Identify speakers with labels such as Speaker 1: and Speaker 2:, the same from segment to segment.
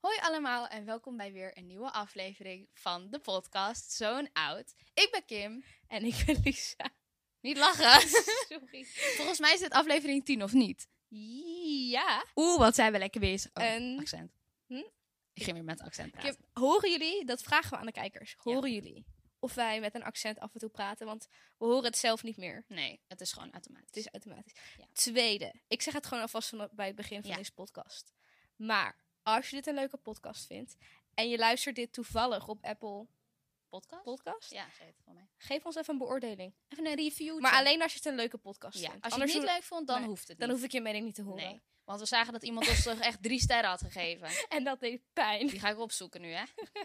Speaker 1: Hoi allemaal en welkom bij weer een nieuwe aflevering van de podcast Zo'n Oud. Ik ben Kim.
Speaker 2: En ik ben Lisa.
Speaker 1: Niet lachen.
Speaker 2: Sorry.
Speaker 1: Volgens mij is dit aflevering 10 of niet?
Speaker 2: Ja.
Speaker 1: Oeh, wat zijn we lekker bezig. Oh,
Speaker 2: En-
Speaker 1: accent.
Speaker 2: Hm?
Speaker 1: Ik ging weer met accent praten.
Speaker 2: Kim, horen jullie, dat vragen we aan de kijkers, horen jullie of wij met een accent af en toe praten? Want we horen het zelf niet meer.
Speaker 1: Nee, het is gewoon automatisch.
Speaker 2: Het is automatisch.
Speaker 1: Ja.
Speaker 2: Tweede, ik zeg het gewoon alvast van, bij het begin van
Speaker 1: Ja.
Speaker 2: deze podcast. Maar als je dit een leuke podcast vindt en je luistert dit toevallig op Apple
Speaker 1: podcast?
Speaker 2: Podcast,
Speaker 1: Ja, zo heet het voor mij.
Speaker 2: geef ons even een beoordeling.
Speaker 1: Even een review.
Speaker 2: Maar alleen als je het een leuke podcast
Speaker 1: Ja, als je
Speaker 2: vindt.
Speaker 1: het
Speaker 2: Anders
Speaker 1: niet
Speaker 2: doen-
Speaker 1: leuk vond, dan
Speaker 2: Nee,
Speaker 1: hoeft het
Speaker 2: dan
Speaker 1: niet.
Speaker 2: hoef ik je mening niet te horen.
Speaker 1: Nee, want we zagen dat iemand ons toch echt drie sterren had gegeven.
Speaker 2: En dat deed pijn.
Speaker 1: Die ga ik opzoeken nu, hè.
Speaker 2: We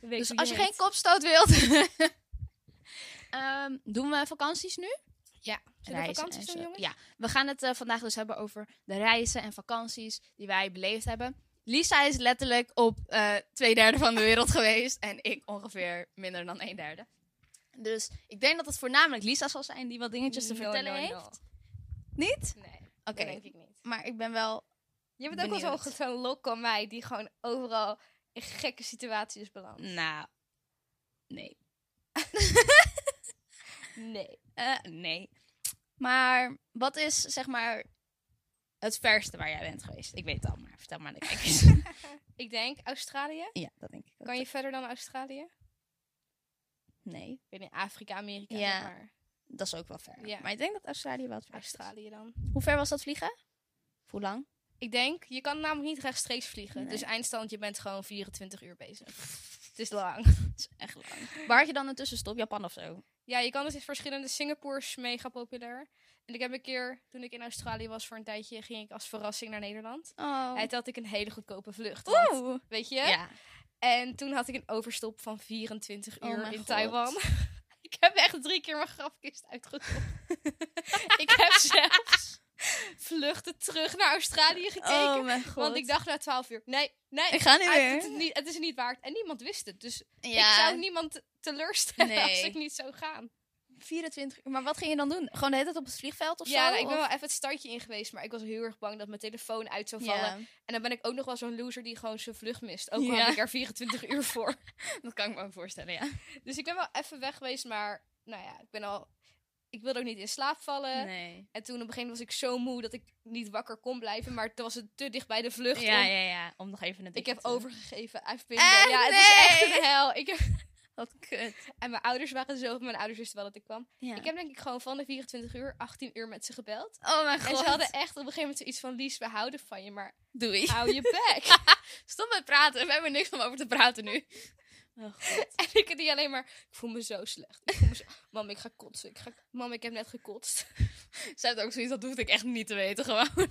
Speaker 2: weten
Speaker 1: Dus
Speaker 2: wie
Speaker 1: als je
Speaker 2: heet.
Speaker 1: geen kopstoot wilt... Ehm, doen we vakanties nu?
Speaker 2: Zullen we
Speaker 1: reizen
Speaker 2: vakanties
Speaker 1: en
Speaker 2: doen,
Speaker 1: zo.
Speaker 2: jongens?
Speaker 1: Ja, we gaan het eh, vandaag dus hebben over de reizen en vakanties die wij beleefd hebben. Lisa is letterlijk op eh, twee derde van de wereld geweest en ik ongeveer minder dan een derde. Dus ik denk dat het voornamelijk Lisa zal zijn die wat dingetjes te
Speaker 2: No,
Speaker 1: vertellen
Speaker 2: no,
Speaker 1: heeft.
Speaker 2: no.
Speaker 1: Niet?
Speaker 2: Nee, dat
Speaker 1: Oké,
Speaker 2: denk ik niet.
Speaker 1: maar ik ben wel...
Speaker 2: Je bent ook wel zo'n
Speaker 1: Benieuwd.
Speaker 2: ge- zo'n lokal mij die gewoon overal in gekke situaties belandt.
Speaker 1: Nou, nee.
Speaker 2: Nee.
Speaker 1: Eh, nee. Maar wat is, zeg maar, het verste waar jij bent geweest? Ik weet het al, maar vertel maar aan de kijkers.
Speaker 2: Ik denk Australië.
Speaker 1: ja, dat denk ik ook.
Speaker 2: Kan je verder dan Australië?
Speaker 1: Nee.
Speaker 2: Ik weet niet, Afrika, Amerika,
Speaker 1: Ja.
Speaker 2: zeg maar
Speaker 1: Dat is ook wel ver.
Speaker 2: Ja.
Speaker 1: Maar ik denk dat Australië wel het verst is.
Speaker 2: Australië dan.
Speaker 1: Hoe ver was dat vliegen? Hoe lang?
Speaker 2: Ik denk, je kan namelijk niet rechtstreeks vliegen.
Speaker 1: Nee.
Speaker 2: Dus eindstand, je bent gewoon 24 uur bezig. Het is lang.
Speaker 1: Dat is echt lang. Waar had je dan een tussenstop? Japan of zo?
Speaker 2: Ja, je kan dus in verschillende Singapore's mega populair. En ik heb een keer, toen ik in Australië was voor een tijdje, ging ik als verrassing naar Nederland.
Speaker 1: Oh.
Speaker 2: En toen had ik een hele goedkope vlucht. want,
Speaker 1: Oeh.
Speaker 2: weet je?
Speaker 1: Ja.
Speaker 2: En toen had ik een overstop van 24
Speaker 1: Oh
Speaker 2: uur
Speaker 1: mijn
Speaker 2: in
Speaker 1: God.
Speaker 2: Taiwan. ik heb echt drie keer mijn grafkist uitgezocht. ik heb zelfs vluchten terug naar Australië gekeken.
Speaker 1: Oh mijn god.
Speaker 2: want ik dacht na 12 uur, nee, nee.
Speaker 1: Ik ga niet
Speaker 2: uit,
Speaker 1: meer.
Speaker 2: Het, is niet, het is niet waard. En niemand wist het. Dus
Speaker 1: ja.
Speaker 2: ik zou niemand teleurstellen als
Speaker 1: Nee.
Speaker 2: ik niet zou gaan.
Speaker 1: 24 uur. Maar wat ging je dan doen? Gewoon de hele tijd op het vliegveld of zo?
Speaker 2: ja, nou, ik ben
Speaker 1: Of-
Speaker 2: wel even het stadje in geweest. Maar ik was heel erg bang dat mijn telefoon uit zou vallen.
Speaker 1: Ja.
Speaker 2: En dan ben ik ook nog wel zo'n loser die gewoon zijn vlucht mist. Ook al
Speaker 1: Ja.
Speaker 2: heb ik er 24 uur voor.
Speaker 1: Dat kan ik me ook voorstellen, ja.
Speaker 2: Dus ik ben wel even weg geweest, maar nou ja, ik ben al. Ik wilde ook niet in slaap
Speaker 1: Eh,
Speaker 2: vallen.
Speaker 1: Nee.
Speaker 2: En toen op een gegeven moment was ik zo moe dat ik niet wakker kon blijven. Maar toen was het te dicht bij de vlucht.
Speaker 1: Ja,
Speaker 2: om-
Speaker 1: ja, ja. Om nog even een
Speaker 2: Ik heb overgegeven. I've been
Speaker 1: Echt?
Speaker 2: there. Ja, het was echt
Speaker 1: Nee.
Speaker 2: een hel. Ik heb-
Speaker 1: Wat kut.
Speaker 2: En mijn ouders waren zo. Mijn ouders wisten wel dat ik kwam.
Speaker 1: Ja.
Speaker 2: Ik heb denk ik gewoon van de 24 uur 18 uur met ze gebeld.
Speaker 1: Oh mijn god.
Speaker 2: En ze hadden echt op een gegeven moment zoiets van Lies, we houden van je, maar
Speaker 1: Doei.
Speaker 2: hou je bek.
Speaker 1: Stop met praten. We hebben niks om over te praten nu. Oh god.
Speaker 2: en ik die alleen maar, ik voel me zo slecht. Ik voel me zo, mam, ik ga kotsen. Ik ga... Mam, ik heb net gekotst.
Speaker 1: Ze heeft ook zoiets, dat hoefde ik echt niet te weten gewoon.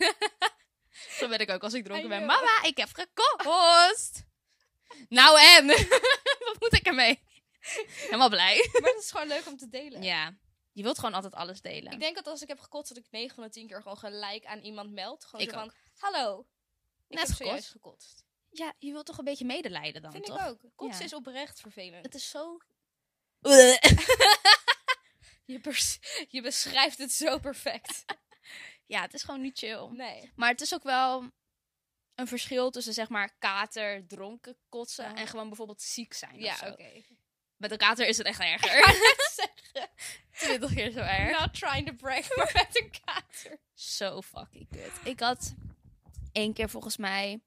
Speaker 1: Zo ben ik ook als ik dronken
Speaker 2: I
Speaker 1: ben.
Speaker 2: know.
Speaker 1: Mama, ik heb gekost. nou en? Wat moet ik ermee? Helemaal blij.
Speaker 2: maar dat is gewoon leuk om te delen.
Speaker 1: Ja, je wilt gewoon altijd alles delen.
Speaker 2: Ik denk dat als ik heb gekotst, dat ik 9 van de 10 keer gewoon gelijk aan iemand meld. Gewoon
Speaker 1: Ik
Speaker 2: zo van, hallo, ik
Speaker 1: Net
Speaker 2: heb zojuist
Speaker 1: gekotst.
Speaker 2: gekotst.
Speaker 1: Ja, je wilt toch een beetje medelijden dan,
Speaker 2: Vind
Speaker 1: toch?
Speaker 2: ik ook. Kotsen
Speaker 1: Ja.
Speaker 2: is oprecht vervelend.
Speaker 1: Het is zo...
Speaker 2: Je, bes- je beschrijft het zo perfect.
Speaker 1: ja, het is gewoon niet chill.
Speaker 2: Nee.
Speaker 1: Maar het is ook wel een verschil tussen zeg maar kater, dronken, kotsen
Speaker 2: Oh.
Speaker 1: en gewoon bijvoorbeeld ziek zijn
Speaker 2: Ja,
Speaker 1: of zo.
Speaker 2: oké.
Speaker 1: Met een kater is het echt erger. Twintig keer zo erg.
Speaker 2: Not trying to break, maar met een kater.
Speaker 1: Zo fucking kut. Ik had één keer volgens mij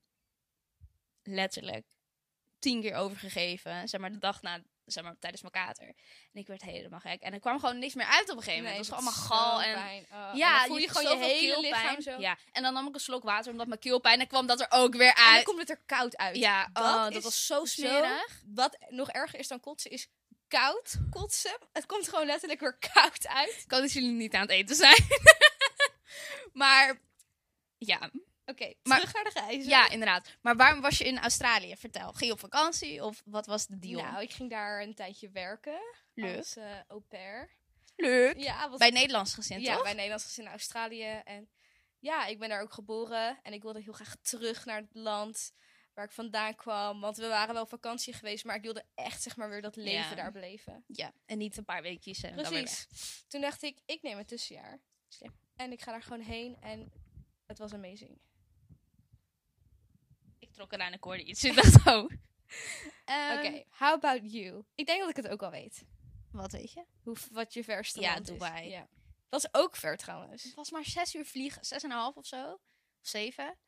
Speaker 1: letterlijk tien keer overgegeven. Zeg maar de dag na, zeg maar tijdens mijn kater. En ik werd helemaal gek. En er kwam gewoon niks meer uit op een gegeven moment. het was
Speaker 2: dat
Speaker 1: allemaal
Speaker 2: is
Speaker 1: gal
Speaker 2: zo'n
Speaker 1: en...
Speaker 2: pijn. Oh, en
Speaker 1: Ja,
Speaker 2: dan voel je, gewoon je
Speaker 1: zoveel
Speaker 2: hele lichaam
Speaker 1: keelpijn.
Speaker 2: zo.
Speaker 1: Ja, en dan nam ik een slok water omdat mijn keelpijn en kwam dat er ook weer
Speaker 2: En dan
Speaker 1: uit.
Speaker 2: komt het er koud uit.
Speaker 1: Ja,
Speaker 2: Dat
Speaker 1: dat, oh,
Speaker 2: is
Speaker 1: dat was zo smerig.
Speaker 2: Wat nog erger is dan kotsen, is koud kotsen. Het komt gewoon letterlijk weer koud uit.
Speaker 1: Ik hoop dat jullie niet aan het eten zijn. maar ja,
Speaker 2: Oké,
Speaker 1: Maar-
Speaker 2: terug naar de reizen. Nou,
Speaker 1: Ja, inderdaad. Maar waarom was je in Australië? Vertel. Ging je op vakantie of wat was de deal?
Speaker 2: Nou, ik ging daar een tijdje werken
Speaker 1: leuk.
Speaker 2: als eh au pair.
Speaker 1: leuk.
Speaker 2: Ja, wat
Speaker 1: Bij Nederlands gezin,
Speaker 2: ja,
Speaker 1: toch?
Speaker 2: bij Nederlands gezin in Australië. En ja, ik ben daar ook geboren en ik wilde heel graag terug naar het land waar ik vandaan kwam. Want we waren wel op vakantie geweest, maar ik wilde echt zeg maar weer dat leven
Speaker 1: Ja.
Speaker 2: daar beleven.
Speaker 1: Ja, en niet een paar weekjes en dan weer weg.
Speaker 2: Precies. Toen dacht ik, ik neem een tussenjaar. En ik ga daar gewoon heen en het was amazing.
Speaker 1: Ik getrokken aan een koorde iets. Ik dacht, oh. Ehm,
Speaker 2: Oké, how about you? Ik denk dat ik het ook al weet.
Speaker 1: Wat weet je?
Speaker 2: Hoe, wat je verste
Speaker 1: Ja,
Speaker 2: land is.
Speaker 1: Dubai.
Speaker 2: Ja. Dat is ook ver trouwens.
Speaker 1: Het was maar zes uur vliegen, zes en een half of zo. Of zeven.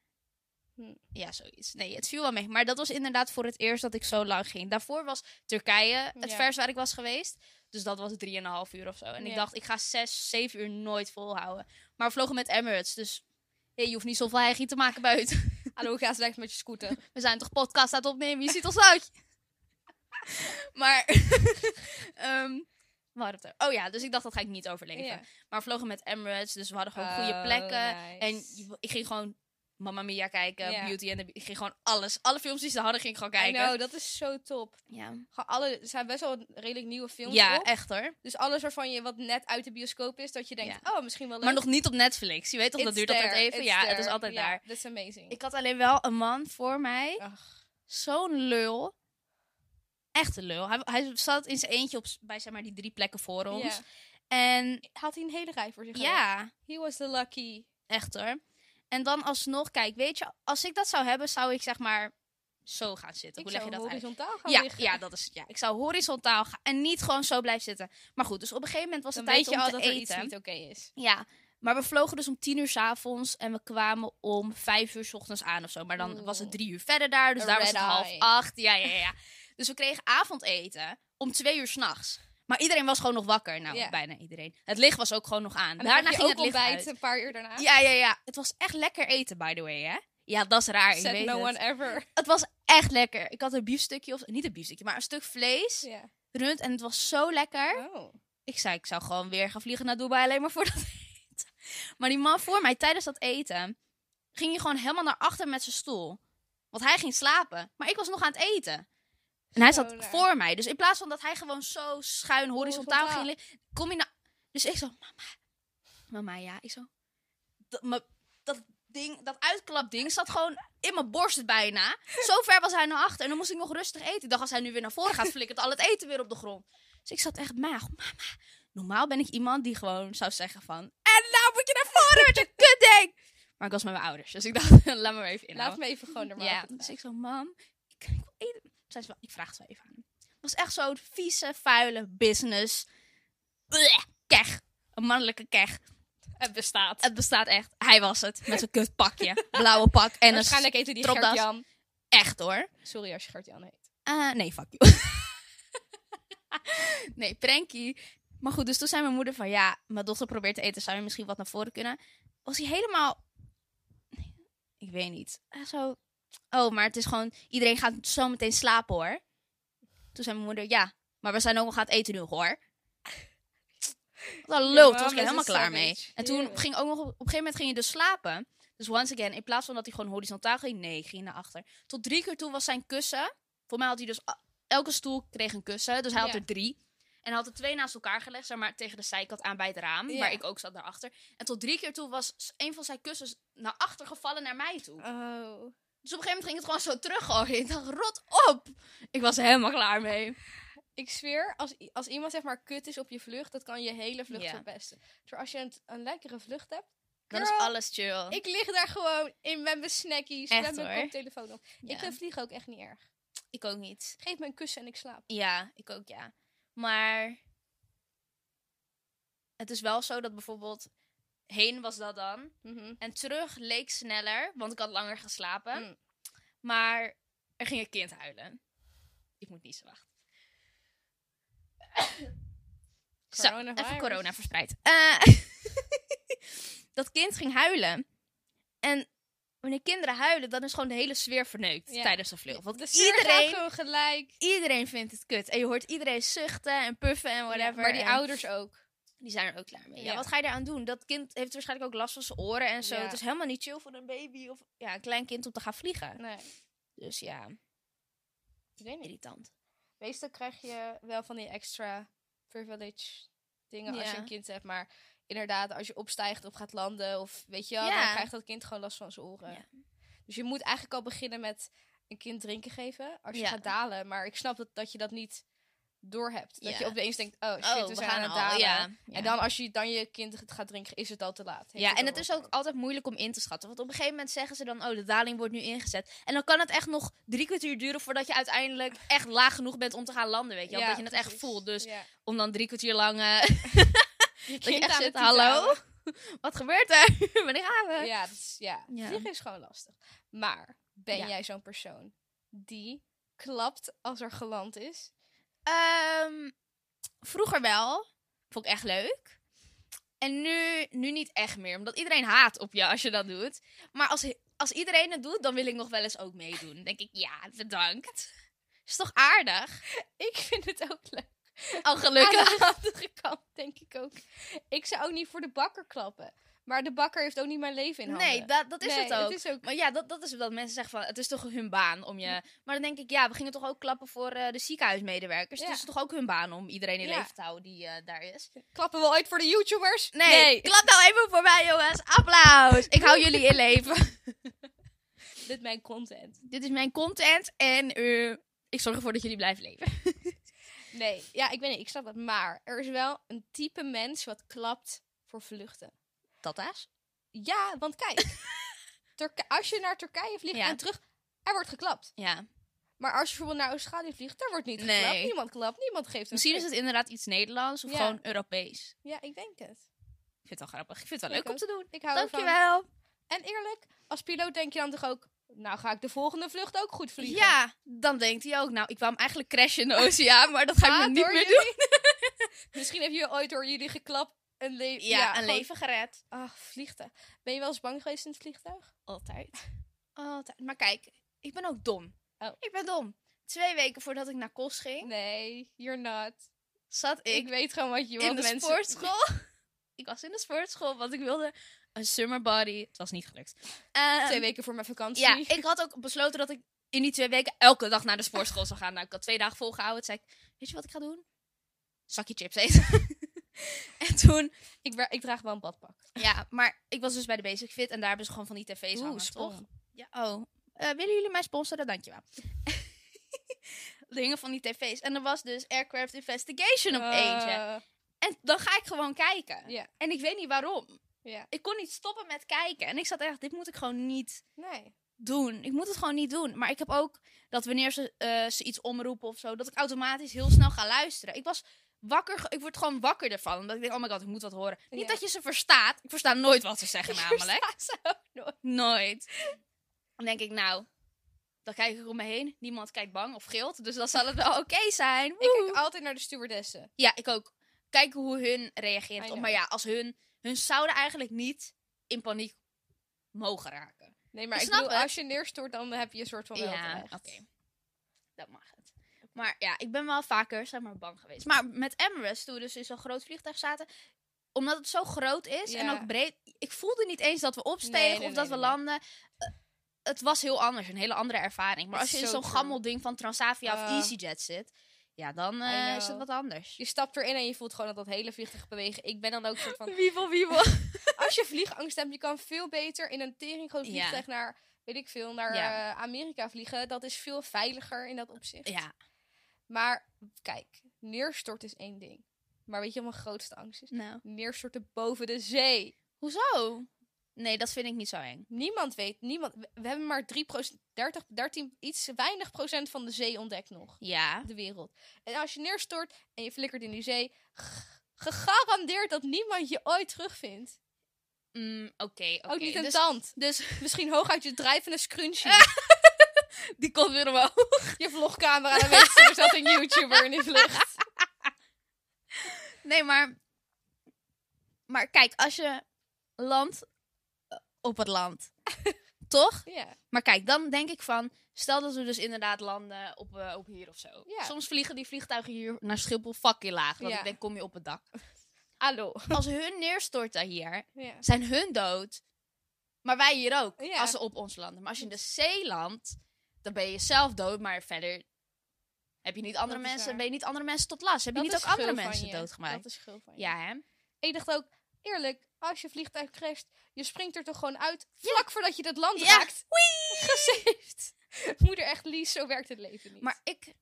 Speaker 2: Hm.
Speaker 1: Ja, zoiets. Nee, het viel wel mee. Maar dat was inderdaad voor het eerst dat ik zo lang ging. Daarvoor was Turkije het
Speaker 2: Ja.
Speaker 1: vers waar ik was geweest. Dus dat was drieënhalf uur of zo. En ik
Speaker 2: Ja.
Speaker 1: dacht, ik ga zes, zeven uur nooit volhouden. Maar we vlogen met Emirates, dus hey, je hoeft niet zoveel hijgie te maken buiten.
Speaker 2: Hallo, ga eens weg met je scooter.
Speaker 1: We zijn toch podcast aan het opnemen, je ziet ons uit. maar, ehm we hadden het er- Oh ja, dus ik dacht, dat ga ik niet overleven.
Speaker 2: Ja.
Speaker 1: Maar we vlogen met Emirates, dus we hadden gewoon goede
Speaker 2: Oh,
Speaker 1: plekken. En
Speaker 2: nice.
Speaker 1: je- ik ging gewoon Mamma Mia kijken,
Speaker 2: Ja.
Speaker 1: Beauty and the Be- Ik ging gewoon alles. Alle films die ze hadden, ging ik gewoon
Speaker 2: I
Speaker 1: kijken.
Speaker 2: know, dat is zo top.
Speaker 1: Ja,
Speaker 2: Gewoon alle, er zijn best wel redelijk nieuwe films
Speaker 1: ja
Speaker 2: op.
Speaker 1: echt hoor.
Speaker 2: Dus alles waarvan je wat net uit de bioscoop is, dat je denkt, oh, misschien wel leuk.
Speaker 1: Maar nog niet op Netflix. Je weet toch,
Speaker 2: It's
Speaker 1: dat duurt
Speaker 2: there,
Speaker 1: altijd even.
Speaker 2: it's
Speaker 1: Ja, het is
Speaker 2: there.
Speaker 1: altijd
Speaker 2: Ja,
Speaker 1: daar.
Speaker 2: That's amazing.
Speaker 1: Ik had alleen wel een man voor mij.
Speaker 2: Ach,
Speaker 1: Zo'n lul. Echt een lul. Hij, hij zat in zijn eentje op, s- bij zeg maar, die drie plekken voor ons.
Speaker 2: ja.
Speaker 1: En
Speaker 2: Had hij een hele rij voor zich?
Speaker 1: ja,
Speaker 2: He was the lucky.
Speaker 1: echt hoor. En dan alsnog, kijk, weet je, als ik dat zou hebben, zou ik zeg maar zo gaan zitten.
Speaker 2: ik
Speaker 1: Hoe leg
Speaker 2: zou
Speaker 1: je dat uit?
Speaker 2: horizontaal gaan
Speaker 1: ja,
Speaker 2: liggen.
Speaker 1: ja, dat is het, ja. Ik zou horizontaal gaan en niet gewoon zo blijven zitten. Maar goed, dus op een gegeven moment was
Speaker 2: Dan
Speaker 1: het
Speaker 2: weet
Speaker 1: tijd
Speaker 2: je
Speaker 1: om
Speaker 2: al
Speaker 1: te
Speaker 2: dat er iets
Speaker 1: eten.
Speaker 2: niet oké is.
Speaker 1: Ja, maar we vlogen dus om tien uur s'avonds en we kwamen om vijf uur s ochtends aan of zo. Maar dan
Speaker 2: Oeh.
Speaker 1: was het drie uur verder daar, dus
Speaker 2: Een
Speaker 1: daar was het
Speaker 2: red
Speaker 1: half
Speaker 2: eye.
Speaker 1: acht. Ja, ja, ja. dus we kregen avondeten om twee uur s'nachts. Maar iedereen was gewoon nog wakker. Nou,
Speaker 2: Ja.
Speaker 1: bijna iedereen. Het licht was ook gewoon nog aan.
Speaker 2: En dan
Speaker 1: Daarna
Speaker 2: heb je
Speaker 1: ging
Speaker 2: ook
Speaker 1: het licht
Speaker 2: ontbijt
Speaker 1: uit.
Speaker 2: een paar uur daarna.
Speaker 1: Ja, ja, ja. Het was echt lekker eten, by the way, hè? Ja, dat is raar. ik
Speaker 2: Said
Speaker 1: weet
Speaker 2: no
Speaker 1: het.
Speaker 2: one ever.
Speaker 1: Het was echt lekker. Ik had een biefstukje of niet een biefstukje, maar een stuk vlees,
Speaker 2: Ja.
Speaker 1: rund en het was zo lekker.
Speaker 2: Oh.
Speaker 1: Ik zei, ik zou gewoon weer gaan vliegen naar Dubai alleen maar voor dat eten. Maar die man voor mij tijdens dat eten ging hij gewoon helemaal naar achter met zijn stoel, want hij ging slapen, maar ik was nog aan het eten. En hij
Speaker 2: Zo
Speaker 1: zat
Speaker 2: raar. Oh,
Speaker 1: voor mij, dus in plaats van dat hij gewoon zo schuin horizontaal,
Speaker 2: Horizontaal.
Speaker 1: ging liggen, kom hij naar. Dus ik zo, mama, mama, ja, ik zo. Dat, me- dat ding, dat uitklapding zat gewoon in mijn borst bijna. Zo ver was hij naar achter. En dan moest ik nog rustig eten. Ik dacht, als hij nu weer naar voren gaat, flikkert al het eten weer op de grond. Dus ik zat echt maag. Mama, normaal ben ik iemand die gewoon zou zeggen van... En nou moet je naar voren met je kutding! Maar ik was met mijn ouders. Dus ik dacht, laat me maar even inhouden.
Speaker 2: Laat me even gewoon normaal.
Speaker 1: Ja, dus ik zo, mam, ik, ik wil eten. Zei ze wel, ik vraag het wel even aan hem. Het was echt zo'n vieze, vuile business. Blech, kech. Een mannelijke kech.
Speaker 2: Het bestaat.
Speaker 1: Het bestaat echt. Hij was het. Met zijn kutpakje. Blauwe pak. En een
Speaker 2: Waarschijnlijk eten die
Speaker 1: stropdas.
Speaker 2: Gert-Jan.
Speaker 1: Echt hoor.
Speaker 2: Sorry als je Gert-Jan heet.
Speaker 1: Eh, nee, fuck you. nee, prankie. Maar goed, dus toen zei mijn moeder van... Ja, mijn dochter probeert te eten. Zou je misschien wat naar voren kunnen? Was hij helemaal... Nee, Ik weet niet. Eh, Zo... Oh, maar het is gewoon... Iedereen gaat zo meteen slapen hoor. Toen zei mijn moeder... Ja, maar we zijn ook nog gaan eten nu hoor. Wat een lul.
Speaker 2: Ja,
Speaker 1: Toen was ik
Speaker 2: maar
Speaker 1: er helemaal
Speaker 2: ze is
Speaker 1: klaar
Speaker 2: savage.
Speaker 1: mee. En toen
Speaker 2: Heerlijk.
Speaker 1: ging ook nog... Op een gegeven moment ging je dus slapen. Dus once again, in plaats van dat hij gewoon horizontaal ging... Nee, ging naar achter. Tot drie keer toe was zijn kussen... Voor mij had hij dus a- elke stoel kreeg een kussen. Dus hij had
Speaker 2: Ja.
Speaker 1: er drie. En hij had er twee naast elkaar gelegd, zeg maar tegen de zijkant aan bij het raam.
Speaker 2: Ja.
Speaker 1: Waar ik ook zat daarachter. En tot drie keer toe was s- een van zijn kussens naar achter gevallen naar mij toe.
Speaker 2: Oh.
Speaker 1: Dus op een gegeven moment ging het gewoon zo teruggooien. Ik dacht, rot op! Ik was er helemaal klaar mee.
Speaker 2: Ik zweer, als, i- als iemand zeg maar kut is op je vlucht, dat kan je hele vlucht
Speaker 1: Ja.
Speaker 2: verpesten. Terwijl als je een, een lekkere vlucht hebt,
Speaker 1: Dan is
Speaker 2: Girl,
Speaker 1: alles chill.
Speaker 2: ik lig daar gewoon in met mijn snackies,
Speaker 1: Echt,
Speaker 2: met mijn
Speaker 1: hoor.
Speaker 2: koptelefoon op.
Speaker 1: Ja.
Speaker 2: Ik vind vliegen ook echt niet erg.
Speaker 1: ik ook niet.
Speaker 2: Geef me een kussen en ik slaap.
Speaker 1: Ja, ik ook ja. Maar het is wel zo dat bijvoorbeeld heen was dat dan.
Speaker 2: Mhm.
Speaker 1: En terug leek sneller, want ik had langer geslapen.
Speaker 2: Mm.
Speaker 1: Maar er ging een kind huilen. Ik moet niet zo wachten. Zo,
Speaker 2: Coronavirus.
Speaker 1: even corona verspreid. Eh, dat kind ging huilen. En wanneer kinderen huilen, dan is gewoon de hele sfeer verneukt
Speaker 2: Ja.
Speaker 1: tijdens een vlucht. Want
Speaker 2: De sfeer gaat
Speaker 1: iedereen,
Speaker 2: gewoon gelijk.
Speaker 1: iedereen vindt het kut. En je hoort iedereen zuchten en puffen en whatever.
Speaker 2: maar die
Speaker 1: en
Speaker 2: ouders ook.
Speaker 1: die zijn er ook klaar mee. Ja.
Speaker 2: Ja.
Speaker 1: wat ga je daaraan doen? Dat kind heeft waarschijnlijk ook last van zijn oren en zo.
Speaker 2: Ja.
Speaker 1: Het is helemaal niet chill voor een baby of ja, een klein kind om te gaan vliegen.
Speaker 2: Nee,
Speaker 1: Dus ja,
Speaker 2: ik weet niet.
Speaker 1: irritant.
Speaker 2: Meestal krijg je wel van die extra privilege dingen als
Speaker 1: Ja.
Speaker 2: je een kind hebt. Maar inderdaad, als je opstijgt of gaat landen of weet je wel,
Speaker 1: Ja.
Speaker 2: dan krijgt dat kind gewoon last van zijn oren.
Speaker 1: Ja.
Speaker 2: Dus je moet eigenlijk al beginnen met een kind drinken geven als je
Speaker 1: Ja.
Speaker 2: gaat dalen. Maar ik snap dat, dat je dat niet doorhebt. Dat
Speaker 1: Ja.
Speaker 2: je opeens denkt, oh shit, we, zijn aan het
Speaker 1: al,
Speaker 2: dalen.
Speaker 1: ja, ja.
Speaker 2: En dan als je dan je kind het gaat drinken, is het al te laat. Heeft
Speaker 1: Ja, en
Speaker 2: al
Speaker 1: het is ook
Speaker 2: gebeurd.
Speaker 1: altijd moeilijk om in te schatten. Want op een gegeven moment zeggen ze dan, oh, de daling wordt nu ingezet. En dan kan het echt nog drie kwartier duren voordat je uiteindelijk echt laag genoeg bent om te gaan landen, weet je wel.
Speaker 2: Ja,
Speaker 1: dat je het echt
Speaker 2: precies.
Speaker 1: voelt. Dus
Speaker 2: Ja.
Speaker 1: om dan drie kwartier lang, eh,
Speaker 2: Je
Speaker 1: dat je
Speaker 2: kind
Speaker 1: echt
Speaker 2: aan
Speaker 1: zit,
Speaker 2: het toeteren.
Speaker 1: hallo? Wat gebeurt er? Wanneer gaan we?
Speaker 2: Ja, dat is, ja.
Speaker 1: Ja.
Speaker 2: vliegen is gewoon lastig. Maar ben
Speaker 1: Ja.
Speaker 2: jij zo'n persoon die klapt als er geland is?
Speaker 1: Ehm, vroeger wel. Vond ik echt leuk. En nu, nu niet echt meer. Omdat iedereen haat op je als je dat doet. Maar als, als iedereen het doet, dan wil ik nog wel eens ook meedoen. Dan denk ik, ja, bedankt. Is toch aardig?
Speaker 2: Ik vind het ook leuk.
Speaker 1: Al
Speaker 2: Aan
Speaker 1: gelukkig.
Speaker 2: de andere kant denk ik ook. Ik zou ook niet voor de bakker klappen. Maar de bakker heeft ook niet mijn leven in handen.
Speaker 1: Nee, dat, dat is
Speaker 2: Nee,
Speaker 1: het ook.
Speaker 2: is ook.
Speaker 1: Maar ja, dat, dat is dat mensen zeggen van, het is toch hun baan om je... Maar dan denk ik, ja, we gingen toch ook klappen voor eh, de ziekenhuismedewerkers. Dus
Speaker 2: Ja.
Speaker 1: Het is toch ook hun baan om iedereen in
Speaker 2: Ja.
Speaker 1: leven te houden die eh, daar is.
Speaker 2: Klappen we ooit voor de YouTubers?
Speaker 1: Nee, klap nou even voor mij, jongens. Applaus. Ik hou jullie in leven.
Speaker 2: Dit is mijn content.
Speaker 1: Dit is mijn content en eh, ik zorg ervoor dat jullie blijven leven.
Speaker 2: Nee, ja, ik weet niet, ik snap dat. Maar er is wel een type mens wat klapt voor vluchten.
Speaker 1: Tata's?
Speaker 2: Ja, want kijk. Turk- als je naar Turkije vliegt
Speaker 1: Ja.
Speaker 2: en terug, er wordt geklapt.
Speaker 1: Ja.
Speaker 2: Maar als je bijvoorbeeld naar Australië vliegt, daar wordt niet
Speaker 1: Nee.
Speaker 2: geklapt. Niemand klapt, niemand geeft een
Speaker 1: Misschien is
Speaker 2: flik.
Speaker 1: het inderdaad iets Nederlands of
Speaker 2: Ja.
Speaker 1: gewoon Europees.
Speaker 2: Ja, ik denk het.
Speaker 1: Ik vind het wel grappig. Ik vind het wel
Speaker 2: Ik
Speaker 1: leuk om
Speaker 2: ook.
Speaker 1: te doen.
Speaker 2: Ik hou ervan.
Speaker 1: Dankjewel.
Speaker 2: En eerlijk, als piloot denk je dan toch ook... Nou, ga ik de volgende vlucht ook goed vliegen?
Speaker 1: Ja, dan denkt hij ook. Nou, ik wou hem eigenlijk crashen in de oceaan, maar dat ga ik
Speaker 2: Ah,
Speaker 1: nu niet
Speaker 2: door
Speaker 1: meer doen.
Speaker 2: jullie? Misschien heb je ooit door jullie geklapt een leven...
Speaker 1: Ja, een leven gered.
Speaker 2: Ah, vliegtuig. Ben je wel eens bang geweest in het vliegtuig?
Speaker 1: Altijd. Altijd. Maar kijk, ik ben ook dom.
Speaker 2: Oh.
Speaker 1: Ik ben dom. Twee weken voordat ik naar Kos ging,
Speaker 2: Nee, you're not.
Speaker 1: zat
Speaker 2: Ik,
Speaker 1: ik
Speaker 2: weet gewoon wat
Speaker 1: in
Speaker 2: je wilt
Speaker 1: de
Speaker 2: mensen...
Speaker 1: sportschool. ik was in de sportschool, want ik wilde een summer body. Het was niet gelukt. Eh,
Speaker 2: Twee weken voor mijn vakantie.
Speaker 1: Ja, ik had ook besloten dat ik in die twee weken elke dag naar de sportschool zou gaan. Nou, ik had twee dagen volgehouden. Toen zei ik, weet je wat ik ga doen? Zakje chips eten. en toen,
Speaker 2: Ik, wer- ik draag wel een badpak.
Speaker 1: ja, maar ik was dus bij de Basic Fit en daar hebben ze gewoon van die tv's
Speaker 2: Oeh,
Speaker 1: hangen,
Speaker 2: spon.
Speaker 1: toch? Ja, oh. Eh, willen jullie mij sponsoren? Dankjewel. Dingen van die tv's. En er was dus Aircraft Investigation op eentje.
Speaker 2: Eh,
Speaker 1: En dan ga ik gewoon kijken.
Speaker 2: Ja.
Speaker 1: En ik weet niet waarom.
Speaker 2: Ja.
Speaker 1: Ik kon niet stoppen met kijken. En ik zat echt, dit moet ik gewoon niet
Speaker 2: Nee.
Speaker 1: doen. Ik moet het gewoon niet doen. Maar ik heb ook dat wanneer ze, eh, ze iets omroepen of zo, dat ik automatisch heel snel ga luisteren. Ik was wakker, ge- ik word gewoon wakker ervan. Omdat ik denk, oh my god, ik moet wat horen.
Speaker 2: Ja.
Speaker 1: Niet dat je ze verstaat. Ik versta nooit wat ze zeggen namelijk. Nooit. Dan denk ik, nou, dan kijk ik om me heen. Niemand kijkt bang of gilt. Dus dan zal het wel oké zijn.
Speaker 2: Ik
Speaker 1: Woe.
Speaker 2: kijk altijd naar de stewardessen.
Speaker 1: Ja, ik ook. Kijken hoe hun
Speaker 2: I
Speaker 1: reageert. Op.
Speaker 2: know.
Speaker 1: Maar ja, als hun... Hun zouden eigenlijk niet in paniek mogen raken.
Speaker 2: Nee, maar
Speaker 1: Ik
Speaker 2: ik,
Speaker 1: snap
Speaker 2: bedoel,
Speaker 1: het.
Speaker 2: als je neerstort, dan heb je een soort van wel terecht.
Speaker 1: oké. Dat mag het. Maar ja, ik ben wel vaker, zeg maar, bang geweest. Maar met Emirates, toen we dus in zo'n groot vliegtuig zaten... Omdat het zo groot is en
Speaker 2: Ja.
Speaker 1: ook breed... Ik voelde niet eens dat we opstegen
Speaker 2: Nee, nee,
Speaker 1: of
Speaker 2: nee,
Speaker 1: dat
Speaker 2: nee,
Speaker 1: we
Speaker 2: nee.
Speaker 1: landen... Eh, het was heel anders, een hele andere ervaring. Maar
Speaker 2: It's
Speaker 1: als je in
Speaker 2: so
Speaker 1: zo'n
Speaker 2: true.
Speaker 1: gammelding van Transavia of
Speaker 2: Ah.
Speaker 1: EasyJet zit... Ja, dan eh,
Speaker 2: I
Speaker 1: is het
Speaker 2: know.
Speaker 1: wat anders.
Speaker 2: Je stapt erin en je voelt gewoon dat dat hele vliegtuig bewegen. Ik ben dan ook soort van...
Speaker 1: Wiebel, wiebel.
Speaker 2: Als je vliegangst hebt, je kan veel beter in een teringgroot
Speaker 1: Ja.
Speaker 2: vliegtuig naar, weet ik veel, naar
Speaker 1: Ja.
Speaker 2: eh, Amerika vliegen. Dat is veel veiliger in dat opzicht.
Speaker 1: Ja,
Speaker 2: Maar kijk, neerstort is één ding. Maar weet je wat mijn grootste angst is?
Speaker 1: nou.
Speaker 2: Neerstorten boven de zee.
Speaker 1: Hoezo? Nee, dat vind ik niet zo eng.
Speaker 2: Niemand weet, niemand. We, we hebben maar 3 30, 13, iets weinig procent van de zee ontdekt nog.
Speaker 1: Ja.
Speaker 2: De wereld. En als je neerstort en je flikkert in die zee, g- gegarandeerd dat niemand je ooit terugvindt.
Speaker 1: Mm, Oké, oké.
Speaker 2: Ook Oh, niet een
Speaker 1: dus,
Speaker 2: tand.
Speaker 1: dus Ah!
Speaker 2: Misschien hooguit je drijvende scrunchie.
Speaker 1: die komt weer omhoog.
Speaker 2: Je vlogcamera, dan weet je, er zat een YouTuber in die vlucht.
Speaker 1: Nee, maar... Maar kijk, als je landt eh, op het land, toch?
Speaker 2: Ja,
Speaker 1: Maar kijk, dan denk ik van... Stel dat we dus inderdaad landen op, eh, op hier of zo.
Speaker 2: Ja.
Speaker 1: Soms vliegen die vliegtuigen hier naar Schiphol fucking laag. Want
Speaker 2: Ja.
Speaker 1: ik denk, kom je op het dak.
Speaker 2: hallo.
Speaker 1: Als hun neerstorten hier,
Speaker 2: Ja.
Speaker 1: zijn hun dood. Maar wij hier ook,
Speaker 2: Ja.
Speaker 1: als ze op ons landen. Maar als je in de zee landt, dan ben je zelf dood. Maar verder heb je niet andere
Speaker 2: Dat is
Speaker 1: mensen,
Speaker 2: waar.
Speaker 1: ben je niet andere mensen tot last. Heb je niet ook andere mensen doodgemaakt?
Speaker 2: Dat is schuld van je.
Speaker 1: Ja, hè?
Speaker 2: Ik dacht ook, eerlijk, als je vliegtuig crasht, je springt er toch gewoon uit vlak voordat je dat land
Speaker 1: Ja.
Speaker 2: raakt. Wee! Gesaved. Moeder echt, Lies, zo werkt het leven niet.
Speaker 1: Maar ik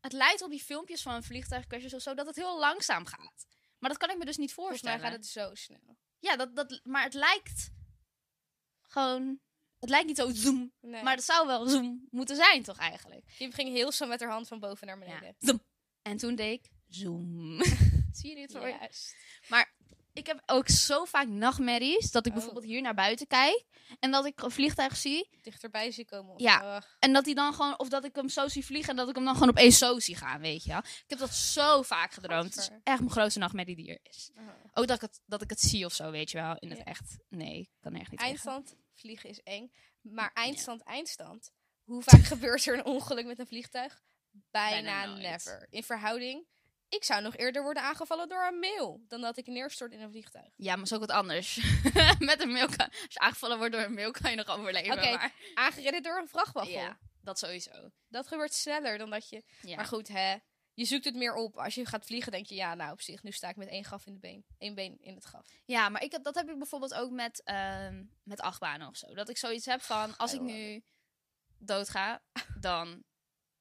Speaker 1: het lijkt op die filmpjes van vliegtuigcrashes of zo, dat het heel langzaam gaat. Maar dat kan ik me dus niet
Speaker 2: Volgens mij
Speaker 1: voorstellen.
Speaker 2: gaat het zo snel.
Speaker 1: Ja, dat, dat, maar het lijkt gewoon... Het lijkt niet zo zoom,
Speaker 2: Nee.
Speaker 1: maar het zou wel zoom moeten zijn toch eigenlijk?
Speaker 2: Kim ging heel snel met haar hand van boven naar beneden.
Speaker 1: Zoom. En toen deed ik zoom. Zie je dit voor je?
Speaker 2: Juist.
Speaker 1: Ik heb ook zo vaak nachtmerries dat ik
Speaker 2: Oh.
Speaker 1: bijvoorbeeld hier naar buiten kijk en dat ik een vliegtuig zie
Speaker 2: Dichterbij zie komen. of
Speaker 1: Ja.
Speaker 2: zo. Ach,
Speaker 1: en dat die dan gewoon of dat ik hem zo zie vliegen en dat ik hem dan gewoon opeens zo zie gaan, weet je wel? Ik heb dat zo vaak gedroomd. Het is
Speaker 2: Gadver.
Speaker 1: echt mijn grootste nachtmerrie die er is.
Speaker 2: oh.
Speaker 1: Ook dat ik het, dat ik het zie of zo, weet je wel? In het
Speaker 2: Ja.
Speaker 1: echt. Nee, ik kan echt niet. tegen.
Speaker 2: Eindstand, vliegen is eng. Maar eindstand, eindstand. Hoe vaak gebeurt er een ongeluk met een vliegtuig? Bijna,
Speaker 1: Bijna nooit.
Speaker 2: never. In verhouding, ik zou nog eerder worden aangevallen door een mail dan dat ik neerstort in een vliegtuig.
Speaker 1: Ja, maar is ook wat anders. Met een mail kan, als je aangevallen wordt door een mail kan je nog overleven.
Speaker 2: Oké,
Speaker 1: maar
Speaker 2: Aangereden door een vrachtwagon.
Speaker 1: ja, dat sowieso.
Speaker 2: Dat gebeurt sneller dan dat je.
Speaker 1: Ja.
Speaker 2: Maar goed, hè. Je zoekt het meer op. Als je gaat vliegen, denk je, ja, nou op zich, nu sta ik met één graf in de been. Eén been in het graf.
Speaker 1: Ja, maar ik heb, dat heb ik bijvoorbeeld ook met, ehm met achtbanen of zo. Dat ik zoiets heb van, als ik
Speaker 2: Geil,
Speaker 1: nu doodga, dan...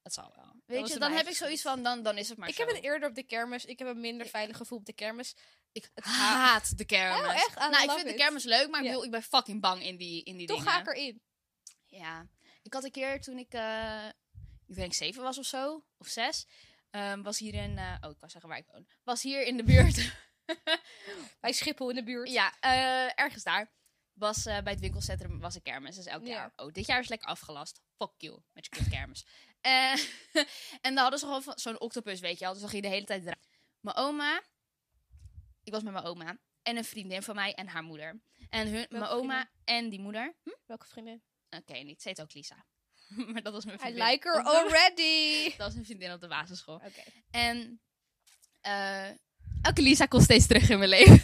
Speaker 1: Het zal wel. Weet
Speaker 2: was
Speaker 1: je,
Speaker 2: het
Speaker 1: dan
Speaker 2: mijn
Speaker 1: heb
Speaker 2: eigen
Speaker 1: ik zoiets
Speaker 2: schuld.
Speaker 1: van, dan, dan is het maar
Speaker 2: ik
Speaker 1: zo.
Speaker 2: heb het eerder op de kermis. Ik heb een minder veilig gevoel op de kermis.
Speaker 1: Ik
Speaker 2: het
Speaker 1: haat de kermis.
Speaker 2: Oh, echt? I
Speaker 1: Nou, ik
Speaker 2: love
Speaker 1: vind de
Speaker 2: it.
Speaker 1: kermis leuk, maar ik,
Speaker 2: Ja.
Speaker 1: bedoel, ik ben fucking bang in die, in die
Speaker 2: Toch
Speaker 1: dingen.
Speaker 2: ga ik erin.
Speaker 1: Ja. Ik had een keer toen ik, eh, ik denk zeven was of zo, of zes, ehm, was hier in, eh, oh ik wou zeggen waar ik woon, was hier in de buurt,
Speaker 2: Bij Schiphol in de buurt.
Speaker 1: ja, eh, ergens daar, was eh, bij het winkelcentrum was een kermis, dus elk
Speaker 2: Ja.
Speaker 1: jaar. Oh, dit jaar is lekker afgelast. Fuck you, met je kut kermis. Eh, en dan hadden ze gewoon van- zo'n octopus, weet je wel, dus dan ging je de hele tijd draaien. Mijn oma, ik was met mijn oma en een vriendin van mij en haar moeder. En hun, mijn oma en die moeder,
Speaker 2: Welke vriendin?
Speaker 1: oké, niet, ze heet ook Lisa. maar dat was mijn
Speaker 2: I
Speaker 1: vriendin.
Speaker 2: like her
Speaker 1: Op de-
Speaker 2: already.
Speaker 1: Dat was een vriendin op de basisschool.
Speaker 2: Oké.
Speaker 1: En eh, elke Lisa komt steeds terug in mijn leven.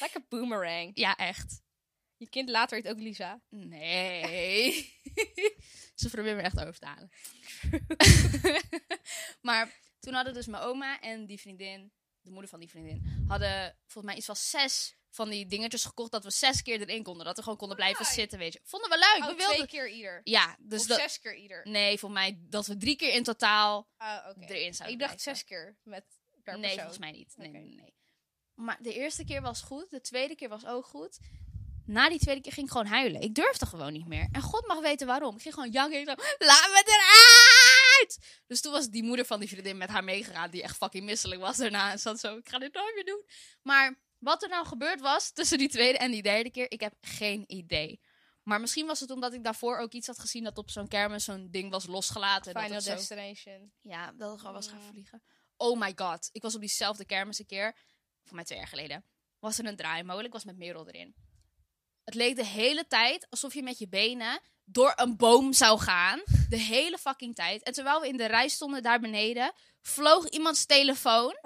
Speaker 2: Lekker boomerang.
Speaker 1: ja, echt.
Speaker 2: Je kind later heet ook Lisa.
Speaker 1: Oh, Nee. Ze probeert me echt over te halen. maar toen hadden dus mijn oma en die vriendin, de moeder van die vriendin, hadden volgens mij iets van zes van die dingetjes gekocht dat we zes keer erin konden. Dat we gewoon konden blijven
Speaker 2: Nice.
Speaker 1: zitten, weet je. Vonden we leuk. we
Speaker 2: oh,
Speaker 1: wilden.
Speaker 2: twee keer ieder.
Speaker 1: Ja, dus
Speaker 2: of
Speaker 1: dat.
Speaker 2: zes keer ieder.
Speaker 1: Nee, voor mij dat we drie keer in totaal
Speaker 2: Ah, oké.
Speaker 1: erin zouden
Speaker 2: Ik dacht
Speaker 1: blijven.
Speaker 2: zes keer met per
Speaker 1: nee,
Speaker 2: persoon.
Speaker 1: volgens mij niet. Nee,
Speaker 2: Oké.
Speaker 1: nee, nee. Maar de eerste keer was goed. De tweede keer was ook goed. Na die tweede keer ging ik gewoon huilen. Ik durfde gewoon niet meer. En God mag weten waarom. Ik ging gewoon janken. Ik zo, laat me eruit! Dus toen was die moeder van die vriendin met haar meegegaan. Die echt fucking misselijk was daarna. En ze zat zo, ik ga dit nooit meer doen. Maar wat er nou gebeurd was tussen die tweede en die derde keer. Ik heb geen idee. Maar misschien was het omdat ik daarvoor ook iets had gezien. Dat op zo'n kermis zo'n ding was losgelaten. en dat
Speaker 2: Final
Speaker 1: het zo-
Speaker 2: Destination.
Speaker 1: ja, dat ik gewoon was gaan
Speaker 2: Ja.
Speaker 1: vliegen. Oh my god. Ik was op diezelfde kermis een keer, voor mij twee jaar geleden, was er een draaimolen. Ik was met Merel erin. Het leek de hele tijd alsof je met je benen door een boom zou gaan. De hele fucking tijd. En terwijl we in de rij stonden daar beneden, vloog iemands telefoon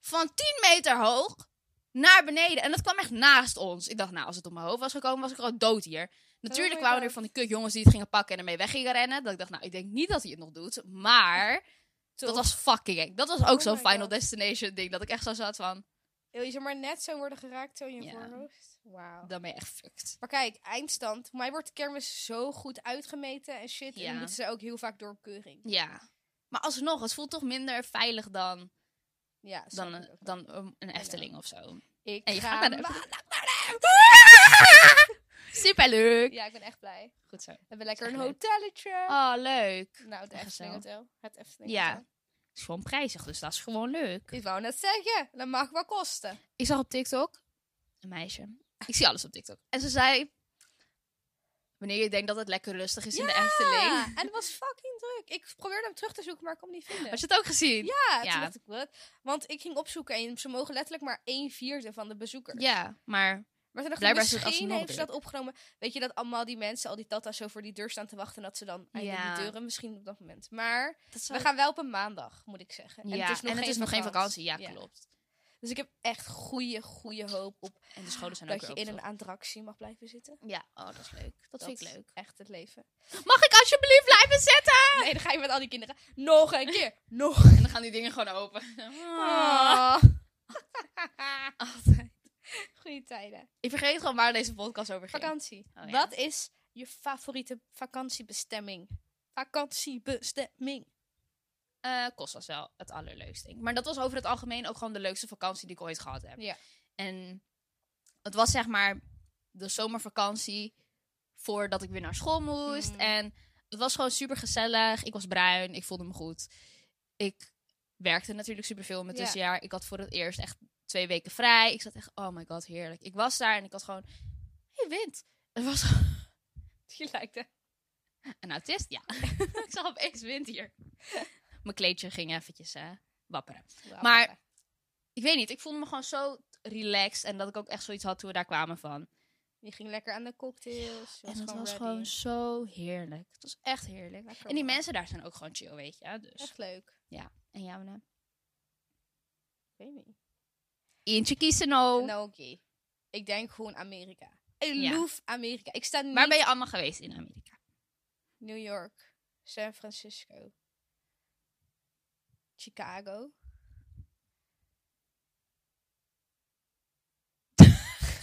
Speaker 1: van 10 meter hoog naar beneden. En dat kwam echt naast ons. Ik dacht, nou, als het op mijn hoofd was gekomen, was ik gewoon dood hier. Natuurlijk
Speaker 2: Oh my
Speaker 1: kwamen er
Speaker 2: God.
Speaker 1: van die kutjongens die het gingen pakken en ermee weg gingen rennen. Dat ik dacht, nou, ik denk niet dat hij het nog doet. Maar dat
Speaker 2: Toch.
Speaker 1: was fucking eng. Dat was ook
Speaker 2: Oh
Speaker 1: zo'n
Speaker 2: my
Speaker 1: Final
Speaker 2: God.
Speaker 1: Destination ding. Dat ik echt zo zat van,
Speaker 2: Wil je zomaar net zo worden geraakt zo in je
Speaker 1: Ja.
Speaker 2: voorhoofd? Wauw.
Speaker 1: dan ben je echt fucked.
Speaker 2: Maar kijk, eindstand. Voor mij wordt de kermis zo goed uitgemeten en shit. En
Speaker 1: Ja.
Speaker 2: dan moeten ze ook heel vaak door keuring.
Speaker 1: Ja. Maar alsnog, het voelt toch minder veilig dan,
Speaker 2: Ja, snap
Speaker 1: dan,
Speaker 2: ik
Speaker 1: een,
Speaker 2: ook wel.
Speaker 1: dan een- een Efteling of zo.
Speaker 2: Ik
Speaker 1: En je
Speaker 2: ga
Speaker 1: gaat naar de
Speaker 2: ma-
Speaker 1: Superleuk.
Speaker 2: Ja, ik ben echt blij.
Speaker 1: Goed zo.
Speaker 2: We hebben lekker
Speaker 1: Echt
Speaker 2: een
Speaker 1: leuk.
Speaker 2: hotelletje.
Speaker 1: Oh, leuk.
Speaker 2: Nou, het
Speaker 1: Gezellig.
Speaker 2: Efteling Hotel. Het Efteling
Speaker 1: Ja.
Speaker 2: Hotel.
Speaker 1: is gewoon prijzig, dus dat is gewoon leuk.
Speaker 2: Ik wou net zeggen, dat mag wel kosten.
Speaker 1: Ik zag op TikTok een meisje. Ik zie alles op TikTok. En ze zei: Wanneer je denkt dat het lekker rustig is in de
Speaker 2: Ja,
Speaker 1: Efteling.
Speaker 2: en het was fucking druk. Ik probeerde hem terug te zoeken, maar ik kon hem niet vinden.
Speaker 1: Had je het ook gezien?
Speaker 2: Ja,
Speaker 1: Ja.
Speaker 2: toen dacht ik, wat? Want ik ging opzoeken en ze mogen letterlijk maar een vierde van de bezoekers.
Speaker 1: Ja, maar
Speaker 2: Maar toen dacht ik,
Speaker 1: Blijkbaar is het
Speaker 2: misschien
Speaker 1: alsnog
Speaker 2: heeft ze dat opgenomen. Weet je, dat allemaal die mensen, al die tata's zo voor die deur staan te wachten. En dat ze dan eindelijk
Speaker 1: Ja.
Speaker 2: die deuren misschien op dat moment. Maar
Speaker 1: dat
Speaker 2: we gaan wel op een maandag, moet ik zeggen.
Speaker 1: ja, en het is nog geen vakantie. Ja, klopt.
Speaker 2: Dus ik heb echt goede, goede hoop op
Speaker 1: En de scholen zijn ook
Speaker 2: dat je
Speaker 1: weer
Speaker 2: in een
Speaker 1: open,
Speaker 2: attractie mag blijven zitten.
Speaker 1: toch? Ja, oh, dat is leuk. Dat, vind ik
Speaker 2: is
Speaker 1: leuk.
Speaker 2: Echt het leven.
Speaker 1: Mag ik alsjeblieft blijven zitten?
Speaker 2: Nee, dan ga je met al die kinderen nog een keer. Nog.
Speaker 1: En dan gaan die dingen gewoon open.
Speaker 2: Ah.
Speaker 1: Altijd.
Speaker 2: Goede tijden.
Speaker 1: Ik vergeet gewoon waar deze podcast over ging.
Speaker 2: Vakantie.
Speaker 1: Oh, ja.
Speaker 2: Wat is je favoriete vakantiebestemming? vakantiebestemming.
Speaker 1: Eh Kos was wel het allerleukste. denk ik. Maar dat was over het algemeen ook gewoon de leukste vakantie die ik ooit gehad heb.
Speaker 2: Ja.
Speaker 1: En het was zeg maar de zomervakantie voordat ik weer naar school moest.
Speaker 2: Mm.
Speaker 1: En het was gewoon super gezellig. Ik was bruin, ik voelde me goed. Ik werkte natuurlijk superveel in mijn
Speaker 2: Ja.
Speaker 1: tussenjaar. Ik had voor het eerst echt twee weken vrij. Ik zat echt, oh my god, heerlijk. Ik was daar en ik had gewoon, hey, wind. Het was
Speaker 2: Je lijkt hè?
Speaker 1: een autist? Ja. ik zag opeens wind hier. Mijn kleedje ging eventjes eh, wapperen.
Speaker 2: Wauw,
Speaker 1: Maar-
Speaker 2: papa.
Speaker 1: Ik weet niet, ik voelde me gewoon zo relaxed. En dat ik ook echt zoiets had toen we daar kwamen van.
Speaker 2: Je ging lekker aan de cocktails. je
Speaker 1: en dat was
Speaker 2: ready.
Speaker 1: gewoon zo heerlijk. Het was echt heerlijk.
Speaker 2: Lekker
Speaker 1: En die
Speaker 2: man.
Speaker 1: mensen daar zijn ook gewoon chill, weet je. Dus.
Speaker 2: Echt leuk.
Speaker 1: En jouw naam?
Speaker 2: Ik weet niet.
Speaker 1: Eentje kiezen nou.
Speaker 2: Nou, oké. Ik denk gewoon Amerika. I
Speaker 1: Ja.
Speaker 2: love Amerika. Ik sta niet...
Speaker 1: Waar ben je allemaal geweest in Amerika?
Speaker 2: New York, San Francisco, Chicago.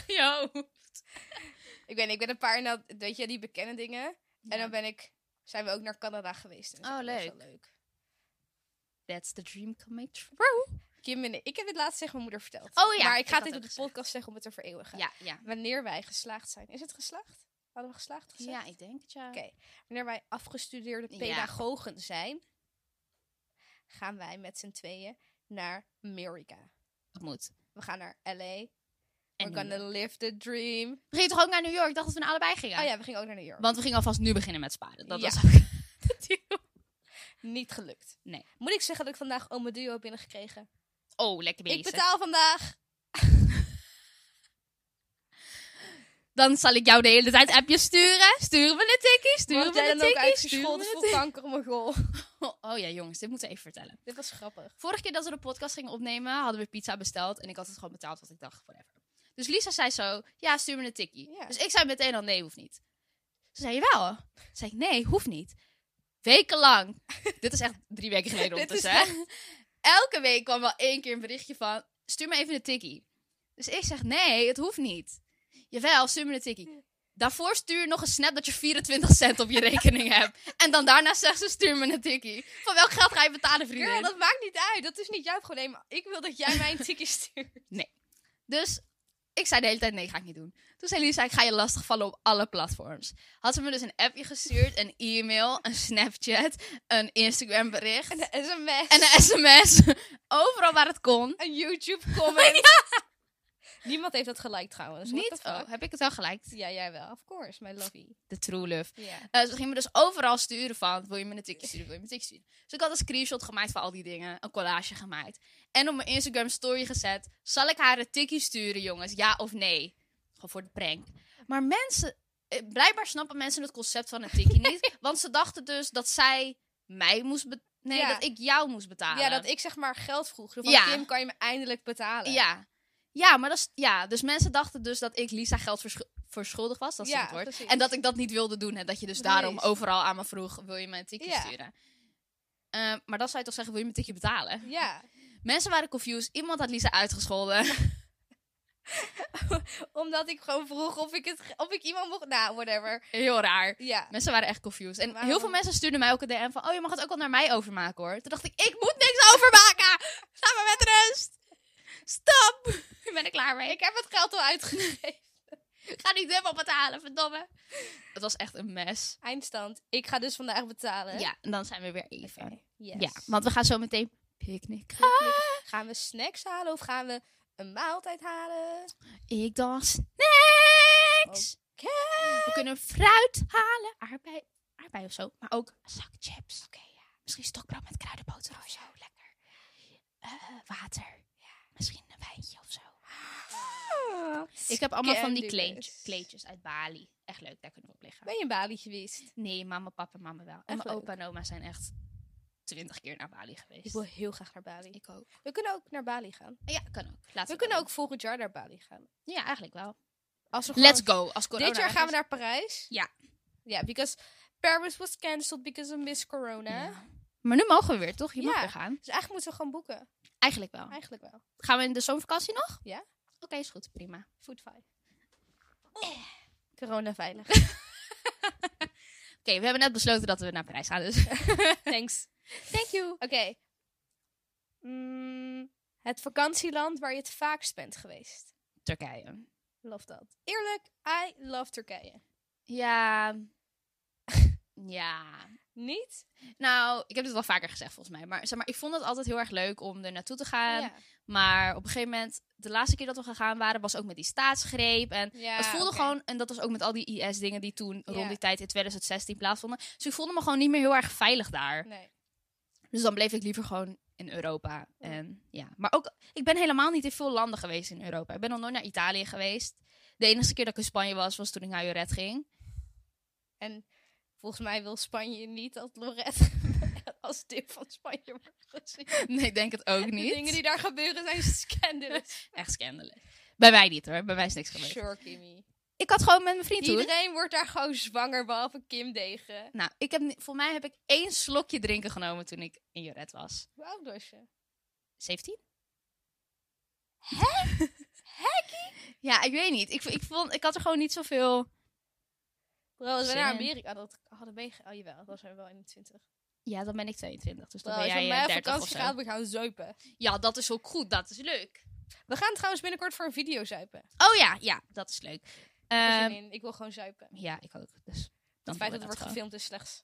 Speaker 1: Jo.
Speaker 2: Ik ben, ik ben een paar, nou, weet je, die bekende dingen. En dan ben ik, zijn we ook naar Canada geweest. En dat is
Speaker 1: Oh,
Speaker 2: ook best wel
Speaker 1: leuk.
Speaker 2: leuk.
Speaker 1: That's the dream come true.
Speaker 2: Kim en ik, ik heb het laatst tegen mijn moeder verteld.
Speaker 1: Oh ja,
Speaker 2: Maar ik
Speaker 1: ik
Speaker 2: ga
Speaker 1: had
Speaker 2: dit
Speaker 1: ook
Speaker 2: op de
Speaker 1: gezegd.
Speaker 2: podcast zeggen om het te vereeuwigen.
Speaker 1: Ja, ja.
Speaker 2: Wanneer wij geslaagd zijn. Is het geslaagd? Hadden we geslaagd gezegd?
Speaker 1: Ja, ik denk het ja.
Speaker 2: Oké. Wanneer wij afgestudeerde
Speaker 1: Ja.
Speaker 2: pedagogen zijn, gaan wij met z'n tweeën naar Amerika.
Speaker 1: Dat moet.
Speaker 2: We gaan naar LA.
Speaker 1: En
Speaker 2: We're
Speaker 1: New York.
Speaker 2: gonna live the dream.
Speaker 1: we gingen toch ook naar New York? Ik dacht dat we naar allebei gingen.
Speaker 2: Oh ja, we gingen ook naar New York.
Speaker 1: Want we gingen alvast nu beginnen met sparen. Dat
Speaker 2: Ja.
Speaker 1: was ook de deal.
Speaker 2: Niet gelukt.
Speaker 1: Nee.
Speaker 2: Moet ik zeggen dat ik vandaag oma duo heb binnengekregen?
Speaker 1: Oh, lekker bezig.
Speaker 2: Ik betaal vandaag.
Speaker 1: Dan zal ik jou de hele tijd appjes sturen. Sturen we een tikkie? Sturen
Speaker 2: Wordt
Speaker 1: we
Speaker 2: jij
Speaker 1: een
Speaker 2: dan ook
Speaker 1: tikkie? Sturen
Speaker 2: uitgescholden
Speaker 1: we
Speaker 2: voor kanker om mijn goal?
Speaker 1: een tikkie? Oh ja, jongens, dit moeten we even vertellen.
Speaker 2: Dit was grappig.
Speaker 1: Vorige keer dat we de podcast gingen opnemen, hadden we pizza besteld. En ik had het gewoon betaald, want ik dacht, whatever. Dus Lisa zei zo, ja, stuur me een tikkie.
Speaker 2: Ja.
Speaker 1: Dus ik zei meteen al, nee, hoeft niet. Ze zei, jawel. Toen zei ik, nee, hoeft niet. Wekenlang. Dit is echt drie weken geleden
Speaker 2: Dit is
Speaker 1: ondertussen. hè? Elke week kwam wel één keer een berichtje van, stuur me even een tikkie. Dus ik zeg, nee, het hoeft niet. Jawel, stuur me een tikkie. Daarvoor stuur nog een snap dat je 24 cent op je rekening hebt. En dan daarna zegt ze, stuur me een tikkie. Van welk geld ga je betalen, vriendin?
Speaker 2: Girl, dat maakt niet uit. Dat is niet jouw probleem. Ik wil dat jij mij een tikje stuurt.
Speaker 1: Dus ik zei de hele tijd, nee, ga ik niet doen. Toen zei Lisa, ik ga je lastigvallen op alle platforms. Had ze me dus een appje gestuurd, een e-mail, een Snapchat, een Instagram bericht
Speaker 2: Een sms.
Speaker 1: en een sms. Overal waar het kon.
Speaker 2: Een YouTube comment. Niemand heeft dat geliked trouwens. What
Speaker 1: Niet,
Speaker 2: the fuck?
Speaker 1: oh, heb ik het wel gelijk?
Speaker 2: Ja, jij wel. Of course, my lovey.
Speaker 1: De true love.
Speaker 2: Ja.
Speaker 1: Eh, ze gingen me dus overal sturen van, wil je me een tikje sturen, wil je me een tikje sturen. Dus ik had een screenshot gemaakt van al die dingen, een collage gemaakt. En op mijn Instagram story gezet, zal ik haar een tikje sturen jongens, ja of nee? Gewoon voor de prank. Maar mensen, eh, blijkbaar snappen mensen het concept van een tikje niet. Want ze dachten dus dat zij mij moest betalen, nee,
Speaker 2: Ja.
Speaker 1: dat ik jou moest betalen.
Speaker 2: ja, dat ik zeg maar geld vroeg. Zo Van,
Speaker 1: Ja.
Speaker 2: Kim, kan je me eindelijk betalen?
Speaker 1: Ja, ja maar dat is, ja, dus mensen dachten dus dat ik Lisa geld versch- verschuldigd was, dat is
Speaker 2: Ja,
Speaker 1: het woord.
Speaker 2: precies.
Speaker 1: En dat ik dat niet wilde doen. En dat je dus
Speaker 2: Precies.
Speaker 1: daarom overal aan me vroeg, wil je me een tikje
Speaker 2: Ja.
Speaker 1: sturen? Eh, maar dan zou je toch zeggen, wil je me een tikje betalen?
Speaker 2: Ja.
Speaker 1: Mensen waren confused. Iemand had Lisa uitgescholden.
Speaker 2: Omdat ik gewoon vroeg of ik, het, ge- of ik iemand mocht... Nou, whatever.
Speaker 1: Heel raar.
Speaker 2: Ja.
Speaker 1: Mensen waren echt confused. En
Speaker 2: Waarom?
Speaker 1: heel veel mensen stuurden mij ook een DM van, oh, je mag het ook wel naar mij overmaken hoor. Toen dacht ik, ik moet niks overmaken. Laat me met rust. Stop. Ik ben er klaar mee.
Speaker 2: Ik heb het geld al uitgegeven.
Speaker 1: Ik ga niet dubbel betalen, verdomme. Het was echt een mes.
Speaker 2: Eindstand. Ik ga dus vandaag betalen.
Speaker 1: Ja, en dan zijn we weer even.
Speaker 2: Oké. Yes. Ah.
Speaker 1: Ja, want we gaan zo meteen picknicken.
Speaker 2: Gaan we snacks halen of gaan we een maaltijd halen?
Speaker 1: Ik dacht
Speaker 2: Oh.
Speaker 1: snacks. We kunnen fruit halen. Aardbei, aardbei of zo. Maar ook zakchips. Oké, Misschien stokbrood met kruidenboter of zo. Lekker. Eh, water. Misschien een wijntje of zo. Ik heb allemaal van die kleedjes,
Speaker 2: Scandalous.
Speaker 1: kleedjes uit Bali. Echt leuk, daar kunnen we op liggen.
Speaker 2: Ben je in Bali geweest?
Speaker 1: Nee, mama, papa, mama wel. En
Speaker 2: Echt
Speaker 1: mijn
Speaker 2: leuk.
Speaker 1: opa en oma zijn echt twintig keer naar Bali
Speaker 2: Ik
Speaker 1: geweest.
Speaker 2: wil heel graag naar Bali.
Speaker 1: Ik ook.
Speaker 2: We kunnen ook naar Bali gaan.
Speaker 1: Ja, kan ook. Laten
Speaker 2: We kunnen ook volgend jaar naar Bali gaan.
Speaker 1: Ja, eigenlijk wel.
Speaker 2: Als we gewoon-
Speaker 1: Let's go. Als corona
Speaker 2: Dit jaar gaan
Speaker 1: weg
Speaker 2: we naar Parijs.
Speaker 1: Ja.
Speaker 2: Ja, because Paris was cancelled because of Miss Corona.
Speaker 1: is. Ja. Maar nu mogen we weer, toch? Je mag
Speaker 2: Ja.
Speaker 1: weer gaan.
Speaker 2: Dus eigenlijk moeten we gewoon boeken.
Speaker 1: Eigenlijk wel.
Speaker 2: Eigenlijk wel.
Speaker 1: Gaan we in de zomervakantie nog?
Speaker 2: Ja.
Speaker 1: Oké, is goed. Prima. Eh.
Speaker 2: Food five. Corona veilig.
Speaker 1: we hebben net besloten dat we naar Parijs gaan, dus
Speaker 2: Thanks.
Speaker 1: thank you.
Speaker 2: Oké. Mm, het vakantieland waar je het vaakst bent geweest.
Speaker 1: Turkije.
Speaker 2: Love dat. Eerlijk, I love Turkije.
Speaker 1: Ja. ja.
Speaker 2: Niet?
Speaker 1: Nou, ik heb dit wel vaker gezegd volgens mij. Maar, zeg maar ik vond het altijd heel erg leuk om er naartoe te gaan.
Speaker 2: Ehm,
Speaker 1: Maar op een gegeven moment, de laatste keer dat we gegaan waren, was ook met die staatsgreep. En
Speaker 2: Ja,
Speaker 1: het voelde
Speaker 2: oké.
Speaker 1: gewoon, en dat was ook met al die IS-dingen die toen
Speaker 2: Ja.
Speaker 1: rond die tijd in 2016 plaatsvonden. Dus ik voelde me gewoon niet meer heel erg veilig daar.
Speaker 2: Nee.
Speaker 1: Dus dan bleef ik liever gewoon in Europa.
Speaker 2: Ja.
Speaker 1: En ja, maar ook, ik ben helemaal niet in veel landen geweest in Europa. Ik ben nog nooit naar Italië geweest. De enige keer dat ik in Spanje was, was toen ik naar Joret ging.
Speaker 2: En volgens mij wil Spanje niet dat Lorette als deel van Spanje wordt gezien.
Speaker 1: Nee, ik denk het ook
Speaker 2: De dingen
Speaker 1: niet.
Speaker 2: die daar gebeuren zijn scandalous.
Speaker 1: Echt scandalen. Bij mij niet hoor, bij mij is niks gebeurd.
Speaker 2: sure, Kimmy.
Speaker 1: Ik had gewoon met mijn vriend toen...
Speaker 2: Iedereen wordt daar gewoon zwanger, behalve Kim Degen.
Speaker 1: Nou, ik heb, ni- voor mij heb ik één slokje drinken genomen toen ik in Joret was.
Speaker 2: Hoe oud was je?
Speaker 1: 17? Hè? Hekkie? Ja, ik weet niet. Ik, ik, vond, ik had er gewoon niet zoveel...
Speaker 2: Bro, als we
Speaker 1: Zin
Speaker 2: naar
Speaker 1: in.
Speaker 2: Amerika dat hadden meege... Oh jawel, dat zijn we wel 21.
Speaker 1: Ja, dan ben ik 22, dus dan
Speaker 2: Bro,
Speaker 1: ben
Speaker 2: als je
Speaker 1: jij
Speaker 2: met
Speaker 1: eh,
Speaker 2: mij op
Speaker 1: 30 of
Speaker 2: vakantie
Speaker 1: zo.
Speaker 2: gaat, we gaan zuipen.
Speaker 1: Ja, dat is ook goed. Dat is leuk.
Speaker 2: We gaan trouwens binnenkort voor een video zuipen.
Speaker 1: Oh ja, ja, dat is leuk.
Speaker 2: Zin
Speaker 1: Ehm,
Speaker 2: in. ik wil gewoon zuipen.
Speaker 1: ja, ik ook. Dus dan
Speaker 2: Het
Speaker 1: doen
Speaker 2: feit dat
Speaker 1: we
Speaker 2: het wordt
Speaker 1: gewoon.
Speaker 2: gefilmd is slechts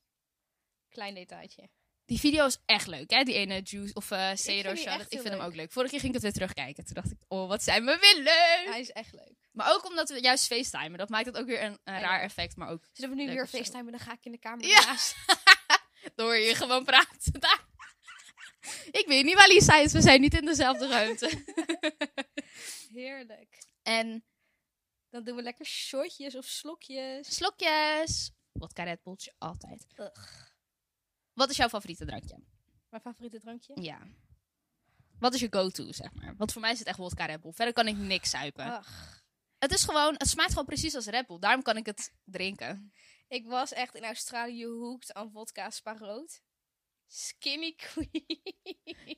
Speaker 2: klein detailtje.
Speaker 1: Die video is echt leuk, hè? Die ene Juice of eh Cedar
Speaker 2: die
Speaker 1: Show.
Speaker 2: echt
Speaker 1: dat- Ik
Speaker 2: heel
Speaker 1: vind hem
Speaker 2: leuk.
Speaker 1: ook leuk. Vorige keer ging ik het weer terugkijken. Toen dacht ik, oh, wat zijn we weer leuk!
Speaker 2: Hij is echt leuk.
Speaker 1: Maar ook omdat we juist facetimen. Dat maakt het ook weer een, een
Speaker 2: Ja.
Speaker 1: raar effect. Maar ook
Speaker 2: Zullen we nu
Speaker 1: Leuk
Speaker 2: weer
Speaker 1: of zo.
Speaker 2: facetimen? Dan ga ik in de kamer
Speaker 1: Ja.
Speaker 2: naast.
Speaker 1: door je gewoon praten daar. Ik weet niet waar Lisa is. We zijn niet in dezelfde ruimte.
Speaker 2: Heerlijk.
Speaker 1: en
Speaker 2: Dan doen we lekker shotjes of slokjes.
Speaker 1: slokjes. Wodka Red Bulltje, altijd. Wat is jouw favoriete drankje?
Speaker 2: Mijn favoriete drankje?
Speaker 1: Ja. Wat is je go-to, zeg maar? Want voor mij is het echt wodka Red Bull. Verder kan ik niks zuipen.
Speaker 2: Ach.
Speaker 1: Het is gewoon... Het smaakt gewoon precies als Red Bull. Daarom kan ik het drinken.
Speaker 2: Ik was echt in Australië hooked aan vodka sparoot. Skinny queen.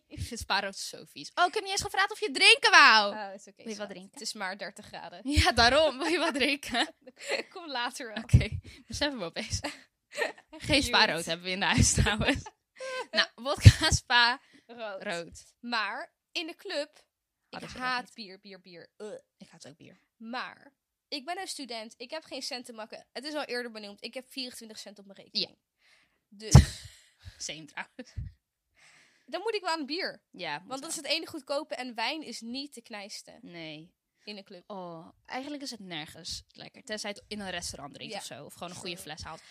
Speaker 1: Ik vind spaarrood zo vies. Oh, ik heb niet eens gevraagd of je drinken wou.
Speaker 2: Oh, is oké.
Speaker 1: Wil je wat
Speaker 2: schat.
Speaker 1: drinken?
Speaker 2: Het is maar 30 graden.
Speaker 1: Ja, daarom. Wil je wat drinken?
Speaker 2: Kom later wel.
Speaker 1: Oké, beseffen we opeens. Geen spaarrood hebben we in de huis trouwens. nou, wodka, spa,
Speaker 2: Rood.
Speaker 1: rood.
Speaker 2: Maar in de club, ik
Speaker 1: Hadden ze dat
Speaker 2: haat
Speaker 1: niet.
Speaker 2: bier, bier, bier. Ugh.
Speaker 1: Ik had ook bier.
Speaker 2: Maar ik ben een student. Ik heb geen cent te makken. Het is al eerder benoemd. Ik heb 24 cent op mijn rekening. Dus
Speaker 1: Same trouwens.
Speaker 2: dan moet ik wel aan bier.
Speaker 1: Ja, moet
Speaker 2: Want dat
Speaker 1: wel.
Speaker 2: is het enige goedkope. En wijn is niet te knijsten
Speaker 1: Nee.
Speaker 2: in een club.
Speaker 1: Oh, eigenlijk is het nergens lekker. Tenzij het in een restaurant drinkt
Speaker 2: Ja.
Speaker 1: of zo. Of gewoon een goede
Speaker 2: Sorry.
Speaker 1: fles haalt.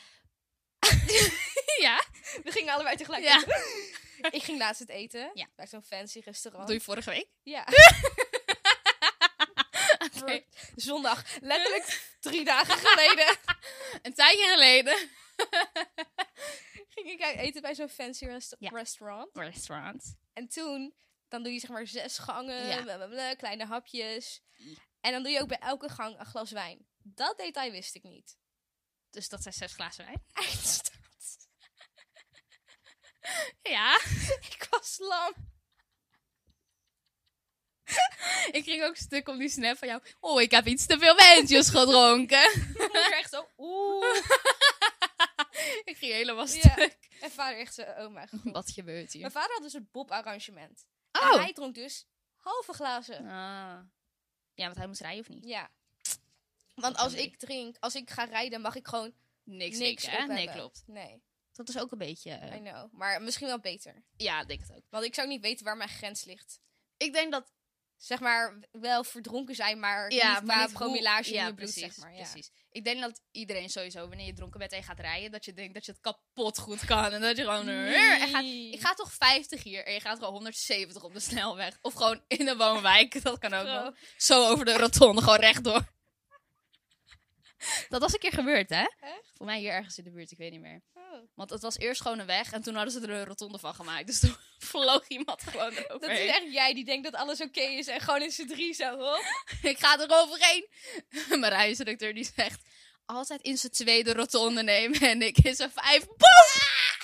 Speaker 1: ja,
Speaker 2: We gingen allebei tegelijk.
Speaker 1: Ja.
Speaker 2: Ik ging laatst het eten.
Speaker 1: Ja.
Speaker 2: Bij zo'n fancy restaurant.
Speaker 1: dat doe je vorige week.
Speaker 2: Ja. Voor Zondag. Letterlijk drie dagen geleden
Speaker 1: Een tijdje geleden.
Speaker 2: ging ik uit eten bij zo'n fancy resta-
Speaker 1: Ja.
Speaker 2: restaurant.
Speaker 1: Restaurant.
Speaker 2: En toen, dan doe je zeg maar zes gangen,
Speaker 1: Ja.
Speaker 2: bla, bla, bla, kleine hapjes.
Speaker 1: Ja.
Speaker 2: En dan doe je ook bij elke gang een glas wijn. Dat detail wist ik niet.
Speaker 1: Dus dat zijn zes glazen wijn.
Speaker 2: Eindstand.
Speaker 1: Ja.
Speaker 2: Ik was lam.
Speaker 1: Ik ging ook stuk om die snap van jou. Oh, ik heb iets te veel wijntjes gedronken.
Speaker 2: Mijn moeder echt zo, oeh.
Speaker 1: ik ging helemaal
Speaker 2: Ja.
Speaker 1: stuk.
Speaker 2: En vader echt zo, oh mijn god.
Speaker 1: Wat gebeurt
Speaker 2: Mijn
Speaker 1: hier?
Speaker 2: vader had dus het Bob-arrangement. En
Speaker 1: Oh.
Speaker 2: hij dronk dus halve glazen.
Speaker 1: Ah. Ja, want hij moest rijden of niet?
Speaker 2: Ja. Want
Speaker 1: Dat
Speaker 2: als
Speaker 1: is een
Speaker 2: ik drink, als ik ga rijden, mag ik gewoon
Speaker 1: Niks,
Speaker 2: niks,
Speaker 1: niks
Speaker 2: op
Speaker 1: hè? Nee,
Speaker 2: hebben.
Speaker 1: klopt.
Speaker 2: Nee,
Speaker 1: Dat is ook een beetje... eh,
Speaker 2: I know. Maar misschien wel beter.
Speaker 1: ja, ik denk het ook.
Speaker 2: Want ik zou niet weten waar mijn grens ligt.
Speaker 1: Ik denk dat
Speaker 2: zeg maar wel verdronken zijn, maar
Speaker 1: ja,
Speaker 2: niet
Speaker 1: maar
Speaker 2: qua
Speaker 1: niet hoe-
Speaker 2: promillage in
Speaker 1: ja,
Speaker 2: je bloed,
Speaker 1: precies,
Speaker 2: zeg maar. Ja.
Speaker 1: Precies. Ik denk dat iedereen sowieso, wanneer je dronken bent en je gaat rijden, dat je denkt dat je het kapot goed kan. En dat je gewoon... en gaat, ik ga toch 50 hier en je gaat gewoon 170 op de snelweg. Of gewoon in een woonwijk, dat kan ook
Speaker 2: Bro.
Speaker 1: nog. Zo over de rotonde, gewoon rechtdoor. Dat was een keer gebeurd, hè?
Speaker 2: Echt?
Speaker 1: Voor mij hier ergens in de buurt, ik weet niet meer.
Speaker 2: Oh.
Speaker 1: Want het was eerst gewoon een weg en toen hadden ze er een rotonde van gemaakt. Dus toen vloog iemand gewoon
Speaker 2: Dat is
Speaker 1: eroverheen.
Speaker 2: echt jij die denkt dat alles oké is en gewoon in z'n drie zo, hop.
Speaker 1: Ik ga er overheen. Mijn rijinstructeur die zegt... Altijd in zijn tweede rotonde nemen en ik in zijn vijf. Boom!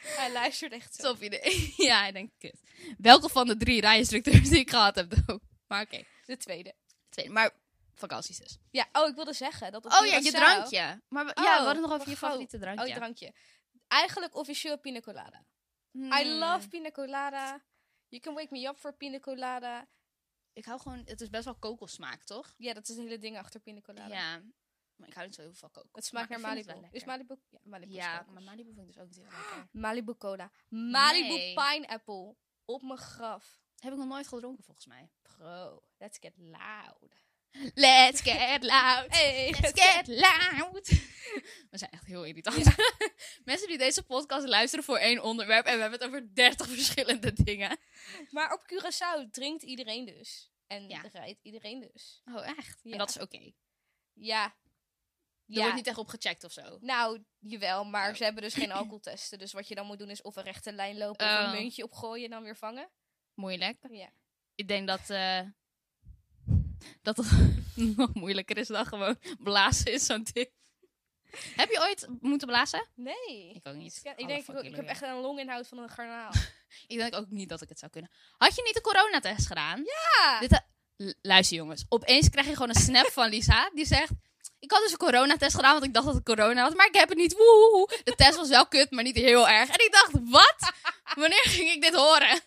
Speaker 2: Hij luistert echt zo.
Speaker 1: Top idee. Ja, ik denk, kut. Welke van de drie rijinstructeurs die ik gehad heb, doe? Maar oké.
Speaker 2: De tweede.
Speaker 1: Tweede. Maar vakanties dus.
Speaker 2: Ja, oh, ik wilde zeggen dat op
Speaker 1: Oh ja, je
Speaker 2: Curaçao-
Speaker 1: drankje. Maar we-
Speaker 2: Oh,
Speaker 1: ja, we hadden nog over
Speaker 2: wacht,
Speaker 1: je favoriete drankje.
Speaker 2: Oh, drankje. Eigenlijk officieel pina colada.
Speaker 1: Mm.
Speaker 2: I love pina colada. You can wake me up for pina colada.
Speaker 1: Ik hou gewoon... Het is best wel kokosmaak, toch?
Speaker 2: Ja, dat is het hele ding achter pina colada.
Speaker 1: Ja. Maar ik hou niet zo heel veel van kokos.
Speaker 2: Het smaakt
Speaker 1: maar
Speaker 2: naar
Speaker 1: ik vind het wel
Speaker 2: Malibu. Is
Speaker 1: lekker.
Speaker 2: Malibu... Ja, Malibu is
Speaker 1: Ja,
Speaker 2: kokos.
Speaker 1: maar Malibu vind ik dus ook niet heel lekker.
Speaker 2: Malibu cola. Malibu
Speaker 1: Nee.
Speaker 2: pineapple. Op mijn graf.
Speaker 1: Heb ik nog nooit gedronken, volgens mij.
Speaker 2: Bro, let's get loud.
Speaker 1: Let's get loud.
Speaker 2: Hey,
Speaker 1: Let's get loud. We zijn echt heel irritant. Mensen die deze podcast luisteren voor één onderwerp en we hebben het over 30 verschillende dingen.
Speaker 2: Maar op Curaçao drinkt iedereen dus. En
Speaker 1: Ja.
Speaker 2: rijdt iedereen dus.
Speaker 1: Oh, echt?
Speaker 2: Ja.
Speaker 1: En dat is oké.
Speaker 2: Ja.
Speaker 1: Er wordt niet echt op gecheckt of zo.
Speaker 2: Nou, jawel, maar
Speaker 1: Oh.
Speaker 2: ze hebben dus geen alcoholtesten. Dus wat je dan moet doen is of een rechte lijn lopen of
Speaker 1: Oh.
Speaker 2: een muntje opgooien en dan weer vangen.
Speaker 1: Moeilijk.
Speaker 2: Ja.
Speaker 1: Ik denk dat eh, dat het nog moeilijker is dan gewoon blazen in zo'n ding. Heb je ooit moeten blazen?
Speaker 2: Nee.
Speaker 1: Ik ook niet.
Speaker 2: Dus ja, ik
Speaker 1: Alle
Speaker 2: denk, ik,
Speaker 1: fucking
Speaker 2: ik heb
Speaker 1: lul,
Speaker 2: echt een longinhoud van een garnaal.
Speaker 1: ja. Ik denk ook niet dat ik het zou kunnen. Had je niet de coronatest gedaan?
Speaker 2: Ja!
Speaker 1: Dit, eh, L- luister jongens, opeens krijg je gewoon een snap van Lisa. Die zegt, ik had dus een coronatest gedaan, want ik dacht dat het corona was. Maar ik heb het niet, woehoe. De test was wel kut, maar niet heel erg. En ik dacht, wat? Wanneer ging ik dit horen?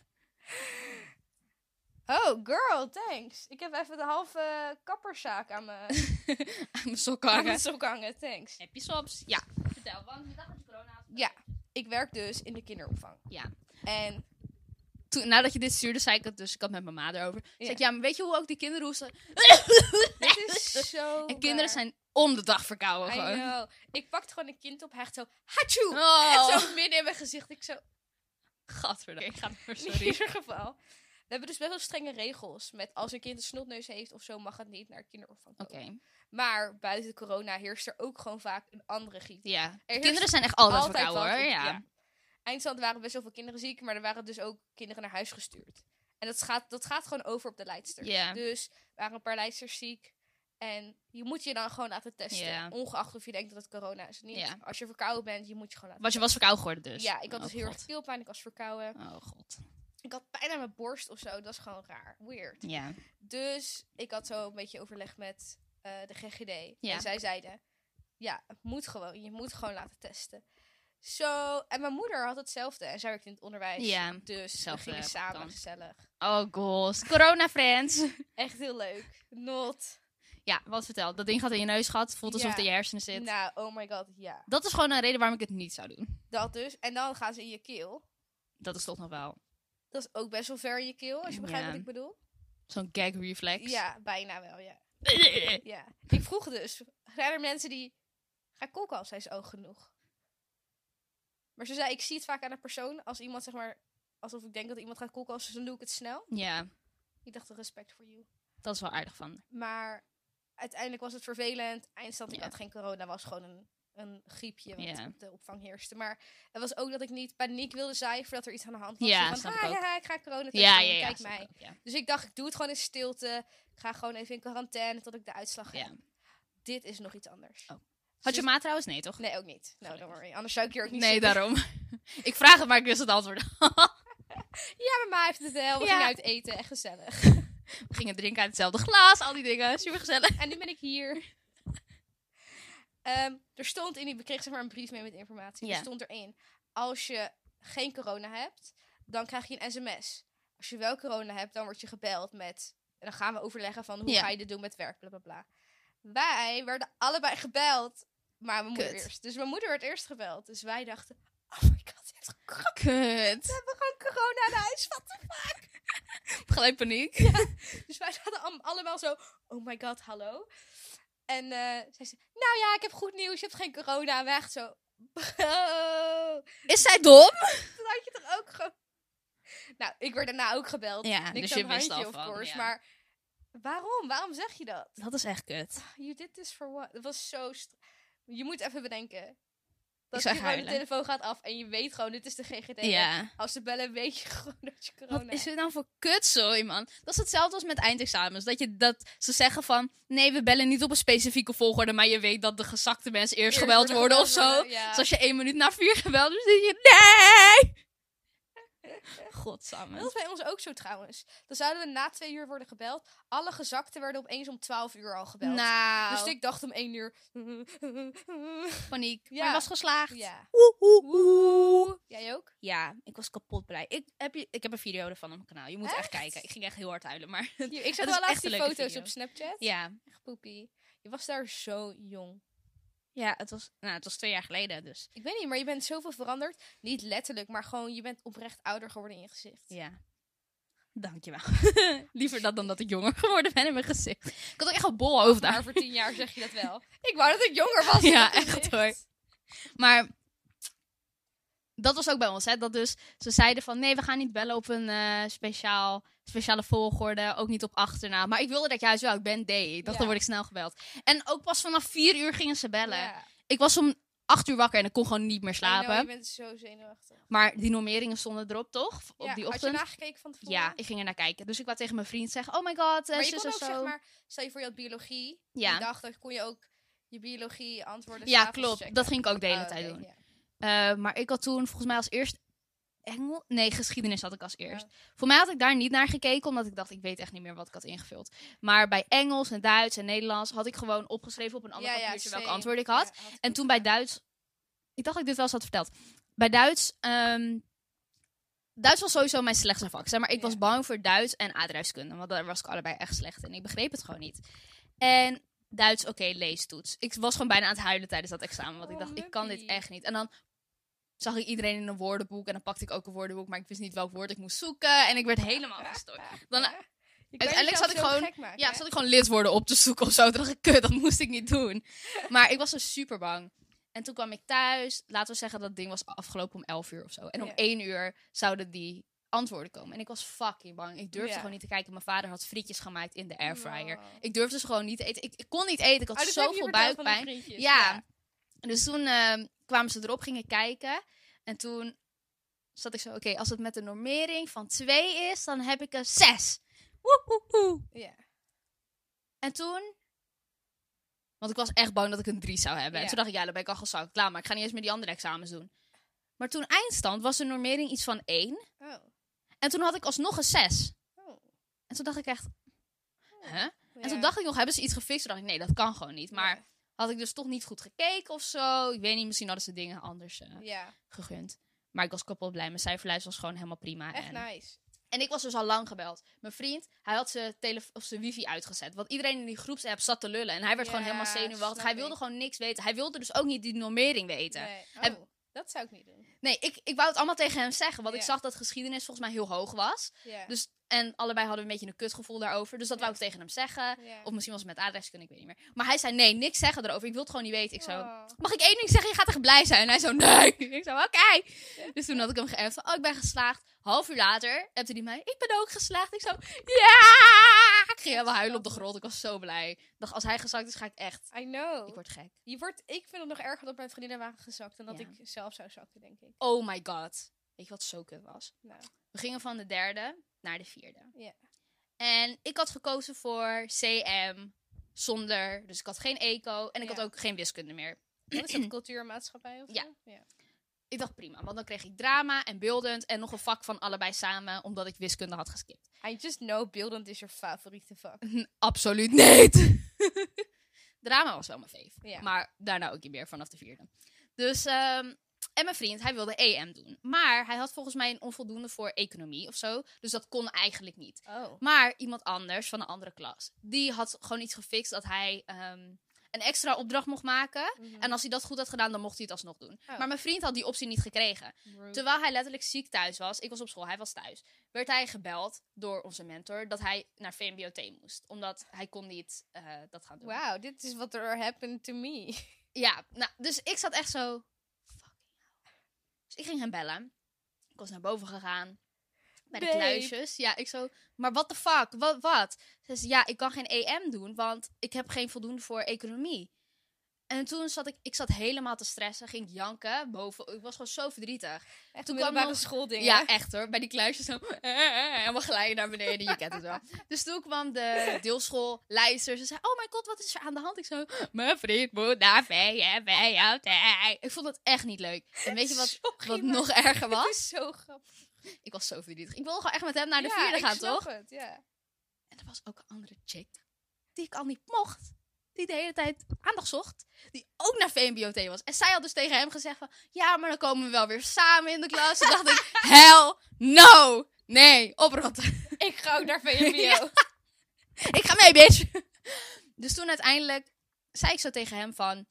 Speaker 2: Oh, girl, thanks. Ik heb even de halve kapperszaak aan mijn
Speaker 1: Aan Mijn sokken
Speaker 2: aan mijn
Speaker 1: hangen.
Speaker 2: sok hangen, thanks.
Speaker 1: Heb je soms? Ja. Vertel, want je dacht dat je corona had.
Speaker 2: Ja, ik werk dus in de kinderopvang.
Speaker 1: Ja.
Speaker 2: En
Speaker 1: Toen, nadat je dit stuurde, zei ik het dus, ik had met mijn ma erover. Zeg
Speaker 2: Ja.
Speaker 1: ik, ja, Oh, maar weet je hoe ook die kinderen hoesten?
Speaker 2: dit is zo
Speaker 1: En kinderen
Speaker 2: waar.
Speaker 1: zijn om de dag verkouden
Speaker 2: I
Speaker 1: gewoon.
Speaker 2: know. Ik pakte gewoon een kind op, hecht zo, hatsjoe!
Speaker 1: Oh,
Speaker 2: En zo midden in mijn gezicht, ik zo,
Speaker 1: gadverdamme. Ik ga door,
Speaker 2: In
Speaker 1: sorry.
Speaker 2: ieder geval. We hebben dus best wel strenge regels. Met als een kind een snotneus heeft of zo, mag het niet naar het kinderopvang komen.
Speaker 1: Oké,
Speaker 2: Maar buiten corona heerst er ook gewoon vaak een andere griep.
Speaker 1: ja.
Speaker 2: heerst
Speaker 1: Kinderen zijn echt altijd,
Speaker 2: wat
Speaker 1: verkouden hoor,
Speaker 2: op-
Speaker 1: ja.
Speaker 2: Eindstand waren best wel veel kinderen ziek, maar er waren dus ook kinderen naar huis gestuurd. En dat gaat, dat gaat gewoon over op de leidsters.
Speaker 1: Ja.
Speaker 2: Dus er waren een paar leidsters ziek. En je moet je dan gewoon laten testen.
Speaker 1: Ja.
Speaker 2: Ongeacht of je denkt dat het corona is of niet.
Speaker 1: Ja.
Speaker 2: Als je verkouden bent, je moet je gewoon laten
Speaker 1: Want je was verkouden geworden dus.
Speaker 2: Ja, ik had
Speaker 1: Oh,
Speaker 2: dus heel erg
Speaker 1: god.
Speaker 2: keelpijn, ik was verkouden.
Speaker 1: Oh god.
Speaker 2: Ik had pijn aan mijn borst of zo, dat is gewoon raar. Weird.
Speaker 1: Ja.
Speaker 2: Dus ik had zo een beetje overleg met eh, de GGD.
Speaker 1: Ja.
Speaker 2: En zij zeiden, ja, het moet gewoon. Je moet gewoon laten testen. Zo, en mijn moeder had hetzelfde. En zij werkte in het onderwijs.
Speaker 1: Ja,
Speaker 2: dus we
Speaker 1: hetzelfde
Speaker 2: gingen samen
Speaker 1: kant.
Speaker 2: gezellig.
Speaker 1: Oh god. Corona friends.
Speaker 2: Echt heel leuk. Not.
Speaker 1: ja, wat vertel. Dat ding gaat in je neus gehad. Voelt alsof
Speaker 2: Ja.
Speaker 1: het in je hersenen zit.
Speaker 2: Nou, oh my god, ja.
Speaker 1: Dat is gewoon een reden waarom ik het niet zou doen.
Speaker 2: Dat dus. En dan gaan ze in je keel.
Speaker 1: Dat is toch nog wel
Speaker 2: Dat is ook best wel ver in je keel, als je begrijpt
Speaker 1: Ja.
Speaker 2: wat ik bedoel.
Speaker 1: zo'n gag reflex.
Speaker 2: Ja, bijna wel, ja. ja. Ik vroeg dus, zijn er mensen die... Ga ik koken als zij is oog genoeg? Maar ze zei, ik zie het vaak aan een persoon. Als iemand, zeg maar, alsof ik denk dat iemand gaat koken als dan doe ik het snel.
Speaker 1: ja,
Speaker 2: Ik dacht, respect voor you.
Speaker 1: dat is wel aardig van.
Speaker 2: Maar uiteindelijk was het vervelend. Eindstand, ik
Speaker 1: Ja.
Speaker 2: had geen corona, was gewoon een, een griepje wat
Speaker 1: Ja.
Speaker 2: op de opvang heerste. Maar het was ook dat ik niet paniek wilde zaaien voordat er iets aan de hand was.
Speaker 1: Ja,
Speaker 2: Zo
Speaker 1: snap
Speaker 2: van,
Speaker 1: ik
Speaker 2: ah,
Speaker 1: ook.
Speaker 2: ja, ik ga corona testen,
Speaker 1: Ja, ja, ja.
Speaker 2: kijk
Speaker 1: snap
Speaker 2: mij.
Speaker 1: ik ook, ja.
Speaker 2: Dus ik dacht, ik doe het gewoon in stilte. Ik ga gewoon even in quarantaine tot ik de uitslag heb.
Speaker 1: Ja.
Speaker 2: Dit is nog iets anders.
Speaker 1: Oh. Had je
Speaker 2: Dus-
Speaker 1: ma trouwens? Nee, toch?
Speaker 2: Nee, ook niet. Nou,
Speaker 1: Gelukkig.
Speaker 2: don't worry. Anders zou ik hier ook niet
Speaker 1: Nee,
Speaker 2: zitten.
Speaker 1: daarom. ik vraag het, maar ik wist het antwoord.
Speaker 2: Ja, mijn ma heeft het wel. We
Speaker 1: Ja.
Speaker 2: gingen uit eten. Echt gezellig.
Speaker 1: We gingen drinken uit hetzelfde glas, al die dingen. Supergezellig.
Speaker 2: En nu ben ik hier. Ehm, er stond in die... We kregen zeg maar een brief mee met informatie.
Speaker 1: Ja.
Speaker 2: Er stond erin. Als je geen corona hebt, dan krijg je een sms. Als je wel corona hebt, dan word je gebeld met... En dan gaan we overleggen van hoe
Speaker 1: Ja.
Speaker 2: ga je dit doen met werk, bla bla bla. Wij werden allebei gebeld, maar mijn moeder
Speaker 1: Kut.
Speaker 2: eerst. Dus mijn moeder werd eerst gebeld. Dus wij dachten, oh my god, ze heeft gewoon
Speaker 1: Kut.
Speaker 2: corona in huis. Wat
Speaker 1: Gelijk paniek.
Speaker 2: Dus wij zaten am- allemaal zo, oh my god, hallo. En eh, zij zei, nou ja, ik heb goed nieuws, je hebt geen corona. En wij echt zo, bro,
Speaker 1: Is zij dom?
Speaker 2: dat had je toch ook gewoon... Nou, ik werd daarna ook gebeld.
Speaker 1: Ja,
Speaker 2: Niks
Speaker 1: dus
Speaker 2: aan
Speaker 1: je
Speaker 2: het
Speaker 1: wist
Speaker 2: handje,
Speaker 1: al
Speaker 2: of
Speaker 1: van,
Speaker 2: course.
Speaker 1: ja.
Speaker 2: Maar waarom? Waarom zeg je dat?
Speaker 1: Dat is echt kut.
Speaker 2: You did this for what? Dat was zo... str- Je moet even bedenken. Dat
Speaker 1: zou
Speaker 2: je
Speaker 1: echt
Speaker 2: gewoon de
Speaker 1: huilen.
Speaker 2: telefoon gaat af en je weet gewoon, dit is de GGD.
Speaker 1: Ja.
Speaker 2: Als ze bellen, weet je gewoon dat je corona
Speaker 1: Wat is
Speaker 2: hebt.
Speaker 1: dit nou voor kutzooi, man? Dat is hetzelfde als met eindexamens. Dat, je, dat ze zeggen van, nee, we bellen niet op een specifieke volgorde, maar je weet dat de gezakte mensen eerst,
Speaker 2: Eerst
Speaker 1: gebeld worden of zo.
Speaker 2: ja.
Speaker 1: Dus als je één minuut na vier gebeld wordt, dan denk je, nee! Godsamme.
Speaker 2: Dat was bij ons ook zo trouwens. Dan zouden we na twee uur worden gebeld. Alle gezakten werden opeens om twaalf uur al gebeld.
Speaker 1: Nou,
Speaker 2: Dus ik dacht om één uur.
Speaker 1: paniek.
Speaker 2: Ja.
Speaker 1: Maar ik was geslaagd.
Speaker 2: ja.
Speaker 1: Oeh, oeh, oeh.
Speaker 2: Jij ook?
Speaker 1: Ja, ik was kapot blij. Ik heb, je, ik heb een video ervan op mijn kanaal. Je moet echt,
Speaker 2: Echt?
Speaker 1: kijken. Ik ging echt heel hard huilen, maar...
Speaker 2: Hier,
Speaker 1: Dat
Speaker 2: ik zag
Speaker 1: is
Speaker 2: wel laatst
Speaker 1: echt een
Speaker 2: die
Speaker 1: leuke
Speaker 2: foto's
Speaker 1: video.
Speaker 2: op Snapchat.
Speaker 1: Ja.
Speaker 2: Echt poepie. Je was daar zo jong.
Speaker 1: Ja, het was, nou, het was twee jaar geleden, dus...
Speaker 2: Ik weet niet, maar je bent zoveel veranderd. Niet letterlijk, maar gewoon je bent oprecht ouder geworden in je gezicht.
Speaker 1: Ja. Dankjewel. Liever dat dan dat ik jonger geworden ben in mijn gezicht. Ik had ook echt een bol over daar.
Speaker 2: Maar voor tien jaar zeg je dat wel. ik wou dat ik jonger was. in
Speaker 1: Ja,
Speaker 2: dat
Speaker 1: echt
Speaker 2: gezicht.
Speaker 1: hoor. Maar dat was ook bij ons, hè. Dat dus, ze zeiden van, nee, we gaan niet bellen op een eh, speciaal, speciale volgorde. Ook niet op achternaam. Maar ik wilde dat juist wel. Ik ben D. Ik dacht,
Speaker 2: Ja.
Speaker 1: dan word ik snel gebeld. En ook pas vanaf vier uur gingen ze bellen.
Speaker 2: Ja.
Speaker 1: Ik was om acht uur wakker en ik kon gewoon niet meer
Speaker 2: I know,
Speaker 1: slapen.
Speaker 2: je bent zo zenuwachtig.
Speaker 1: Maar die normeringen stonden erop, toch? Op
Speaker 2: Ja,
Speaker 1: die
Speaker 2: Had je
Speaker 1: ochtend.
Speaker 2: nagekeken van tevoren?
Speaker 1: Ja, ik ging er naar kijken. Dus ik wou tegen mijn vriend zeggen: Oh my god, eh,
Speaker 2: Maar je
Speaker 1: zus
Speaker 2: kon
Speaker 1: en
Speaker 2: ook,
Speaker 1: zo.
Speaker 2: zeg maar, stel je voor je had biologie.
Speaker 1: Ja.
Speaker 2: Die dag, dan kon je ook je biologie antwoorden.
Speaker 1: ja,
Speaker 2: s'avonds
Speaker 1: klopt.
Speaker 2: checken.
Speaker 1: Dat ging ik ook de hele
Speaker 2: Oh,
Speaker 1: tijd
Speaker 2: oké,
Speaker 1: doen.
Speaker 2: ja.
Speaker 1: Eh, maar ik had toen volgens mij als eerst Engel. Nee, geschiedenis had ik
Speaker 2: Oh.
Speaker 1: als eerst. Voor mij had ik daar niet naar gekeken, omdat ik dacht: Ik weet echt niet meer wat ik had ingevuld. Maar bij Engels en Duits en Nederlands had ik gewoon opgeschreven op een ander
Speaker 2: Ja, ja,
Speaker 1: papiertje welke
Speaker 2: same.
Speaker 1: antwoorden ik had.
Speaker 2: Ja,
Speaker 1: En
Speaker 2: ik
Speaker 1: toen
Speaker 2: ook
Speaker 1: bij
Speaker 2: gedaan.
Speaker 1: Duits. Ik dacht dat ik dit wel eens had verteld. Bij Duits. ehm, Duits was sowieso mijn slechtste vak. Zeg maar, ik
Speaker 2: Ja.
Speaker 1: was bang voor Duits en aardrijkskunde. Want daar was ik allebei echt slecht in. Ik begreep het gewoon niet. En Duits, oké, leestoets. Ik was gewoon bijna aan het huilen tijdens dat examen. Want ik
Speaker 2: Oh,
Speaker 1: dacht, ik kan dit
Speaker 2: muppie.
Speaker 1: echt niet. En dan zag ik iedereen in een woordenboek. En dan pakte ik ook een woordenboek. Maar ik wist niet welk woord ik moest zoeken. En ik werd helemaal gestoord. Dan- eh,
Speaker 2: Ja. Je kan
Speaker 1: uiteindelijk
Speaker 2: jezelf
Speaker 1: zat ik
Speaker 2: zo
Speaker 1: gewoon-
Speaker 2: gek maken,
Speaker 1: Ja,
Speaker 2: hè?
Speaker 1: zat ik gewoon lidwoorden op te zoeken of zo. Toen dacht ik, kut, dat moest ik niet doen. Maar ik was zo super bang. En toen kwam ik thuis. Laten we zeggen dat het ding was afgelopen om 11 uur of zo. En om
Speaker 2: Ja.
Speaker 1: 1 uur zouden die antwoorden komen. En ik was fucking bang. Ik durfde
Speaker 2: Ja.
Speaker 1: gewoon niet te kijken. Mijn vader had frietjes gemaakt in de airfryer.
Speaker 2: Oh.
Speaker 1: Ik durfde ze gewoon niet te eten. Ik, ik kon niet eten. Ik had
Speaker 2: Oh, dit heb je
Speaker 1: zoveel
Speaker 2: verteld van die
Speaker 1: buikpijn.
Speaker 2: vriendjes,
Speaker 1: Ja. Dus toen ehm, kwamen ze erop, gingen kijken. En toen zat ik zo, oké, als het met een normering van 2 is, dan heb ik een 6. Woehoehoe.
Speaker 2: Ja.
Speaker 1: En toen... Want ik was echt bang dat ik een 3 zou hebben. En
Speaker 2: Ja.
Speaker 1: toen dacht ik, ja, dan ben ik al gezakt. Klaar, maar ik ga niet eens meer die andere examens doen. Maar toen eindstand was de normering iets van 1.
Speaker 2: Oh.
Speaker 1: En toen had ik alsnog een 6.
Speaker 2: Oh.
Speaker 1: En toen dacht ik echt... Huh?
Speaker 2: Ja.
Speaker 1: En toen dacht ik nog, hebben ze iets gefixt? Toen dacht ik, nee, dat kan gewoon niet. Maar
Speaker 2: Ja.
Speaker 1: had ik dus toch niet goed gekeken of zo. Ik weet niet, misschien hadden ze dingen anders eh,
Speaker 2: Ja,
Speaker 1: gegund. Maar ik was kapot blij. Mijn cijferlijst was gewoon helemaal prima.
Speaker 2: echt nou?
Speaker 1: en,
Speaker 2: nice.
Speaker 1: en ik was dus al lang gebeld. Mijn vriend, hij had zijn, telef- of zijn wifi uitgezet. Want iedereen in die groepsapp zat te lullen. En hij werd gewoon
Speaker 2: Ja,
Speaker 1: helemaal zenuwachtig.
Speaker 2: snap
Speaker 1: Hij wilde
Speaker 2: ik.
Speaker 1: gewoon niks weten. Hij wilde dus ook niet die normering weten. Nee,
Speaker 2: Nee.
Speaker 1: Heb-
Speaker 2: Oh, dat zou ik niet doen.
Speaker 1: ik, ik wou het allemaal tegen hem zeggen. Want ik
Speaker 2: Ja.
Speaker 1: zag dat geschiedenis volgens mij heel hoog was.
Speaker 2: Ja.
Speaker 1: Dus, en allebei hadden we een beetje een kutgevoel daarover. Dus dat
Speaker 2: Ja.
Speaker 1: wou ik tegen hem zeggen.
Speaker 2: ja.
Speaker 1: Of misschien was het met adreskunde, ik weet niet meer. Maar hij zei, nee, niks zeggen erover. Ik wil het gewoon niet weten. Ik zo,
Speaker 2: Oh.
Speaker 1: mag ik één ding zeggen? Je gaat echt blij zijn. En hij zo, nee. Ik zo, oké. Dus toen had ik hem geërfd van, oh, ik ben geslaagd. Half uur later appte hij mij, ik ben ook geslaagd. Ik zo, ja! Ik ging helemaal huilen op de grond. Ik was zo blij. Ik dacht, als hij gezakt is, ga ik echt...
Speaker 2: I know.
Speaker 1: Ik word gek.
Speaker 2: Je wordt, ik vind het nog erger dat mijn vriendinnen waren gezakt dan dat
Speaker 1: Ja.
Speaker 2: ik zelf zou zakken, denk ik.
Speaker 1: Oh my god. Weet je wat zo kut was?
Speaker 2: Nou.
Speaker 1: We gingen van de derde naar de vierde.
Speaker 2: Ja.
Speaker 1: En ik had gekozen voor CM zonder. Dus ik had geen eco. En ik
Speaker 2: Ja.
Speaker 1: had ook geen wiskunde meer.
Speaker 2: Wat is dat, cultuur en maatschappij of zo?
Speaker 1: Ja.
Speaker 2: ja.
Speaker 1: Ik dacht prima, want dan kreeg ik drama en beeldend en nog een vak van allebei samen, omdat ik wiskunde had geskipt.
Speaker 2: I just know beeldend is your favoriete vak.
Speaker 1: Absoluut niet! drama was wel mijn fave,
Speaker 2: Ja.
Speaker 1: maar daarna ook niet meer vanaf de vierde. Dus, ehm, en mijn vriend, hij wilde EM doen. Maar hij had volgens mij een onvoldoende voor economie of zo, dus dat kon eigenlijk niet.
Speaker 2: Oh.
Speaker 1: Maar iemand anders van een andere klas, die had gewoon iets gefixt dat hij ehm, een extra opdracht mocht maken. En als hij dat goed had gedaan, dan mocht hij het alsnog doen.
Speaker 2: Mm. Oh.
Speaker 1: Maar mijn vriend had die optie niet gekregen. Terwijl hij letterlijk ziek thuis was, ik was op school, hij was thuis, werd hij gebeld door onze mentor dat hij naar VMBOT moest. Omdat hij kon niet eh, dat gaan doen.
Speaker 2: Wauw, dit is wat er happened to me.
Speaker 1: Ja, nou, dus ik zat echt zo, fucking hell. Dus ik ging hem bellen. Ik was naar boven gegaan. Bij de
Speaker 2: Babe.
Speaker 1: kluisjes. Ja, ik zo, maar what the fuck, wat, wat? Ze zei, ja, ik kan geen EM doen, want ik heb geen voldoende voor economie. En toen zat ik, ik zat helemaal te stressen, ging janken boven. Ik was gewoon zo verdrietig.
Speaker 2: Echt
Speaker 1: Toen
Speaker 2: Toen
Speaker 1: kwam
Speaker 2: middelbare
Speaker 1: nog-
Speaker 2: schooldingen.
Speaker 1: Ja, echt hoor. Bij die kluisjes zo. Helemaal glijden naar beneden. Je kent het wel. Dus toen kwam de deelschoolleider. Ze zei: Oh mijn god, wat is er aan de hand? Ik zo. Mijn vriend moet naar VMBOT. Ik vond het echt niet leuk. En weet je wat,
Speaker 2: Sorry,
Speaker 1: wat
Speaker 2: maar
Speaker 1: nog erger
Speaker 2: Het
Speaker 1: was?
Speaker 2: is zo grappig.
Speaker 1: Ik was zo verdrietig. Ik wilde gewoon echt met hem naar de
Speaker 2: Ja,
Speaker 1: vierde
Speaker 2: ik
Speaker 1: gaan,
Speaker 2: snap
Speaker 1: toch?
Speaker 2: het, ja.
Speaker 1: En er was ook een andere chick die ik al niet mocht. Die de hele tijd aandacht zocht. Die ook naar VMBOT was. En zij had dus tegen hem gezegd van... Ja, maar dan komen we wel weer samen in de klas. Toen dacht ik... Hell no! Nee, oprotten.
Speaker 2: Ik ga ook naar VMBO.
Speaker 1: Ja. Ik ga mee, bitch. Dus toen uiteindelijk zei ik zo tegen hem van...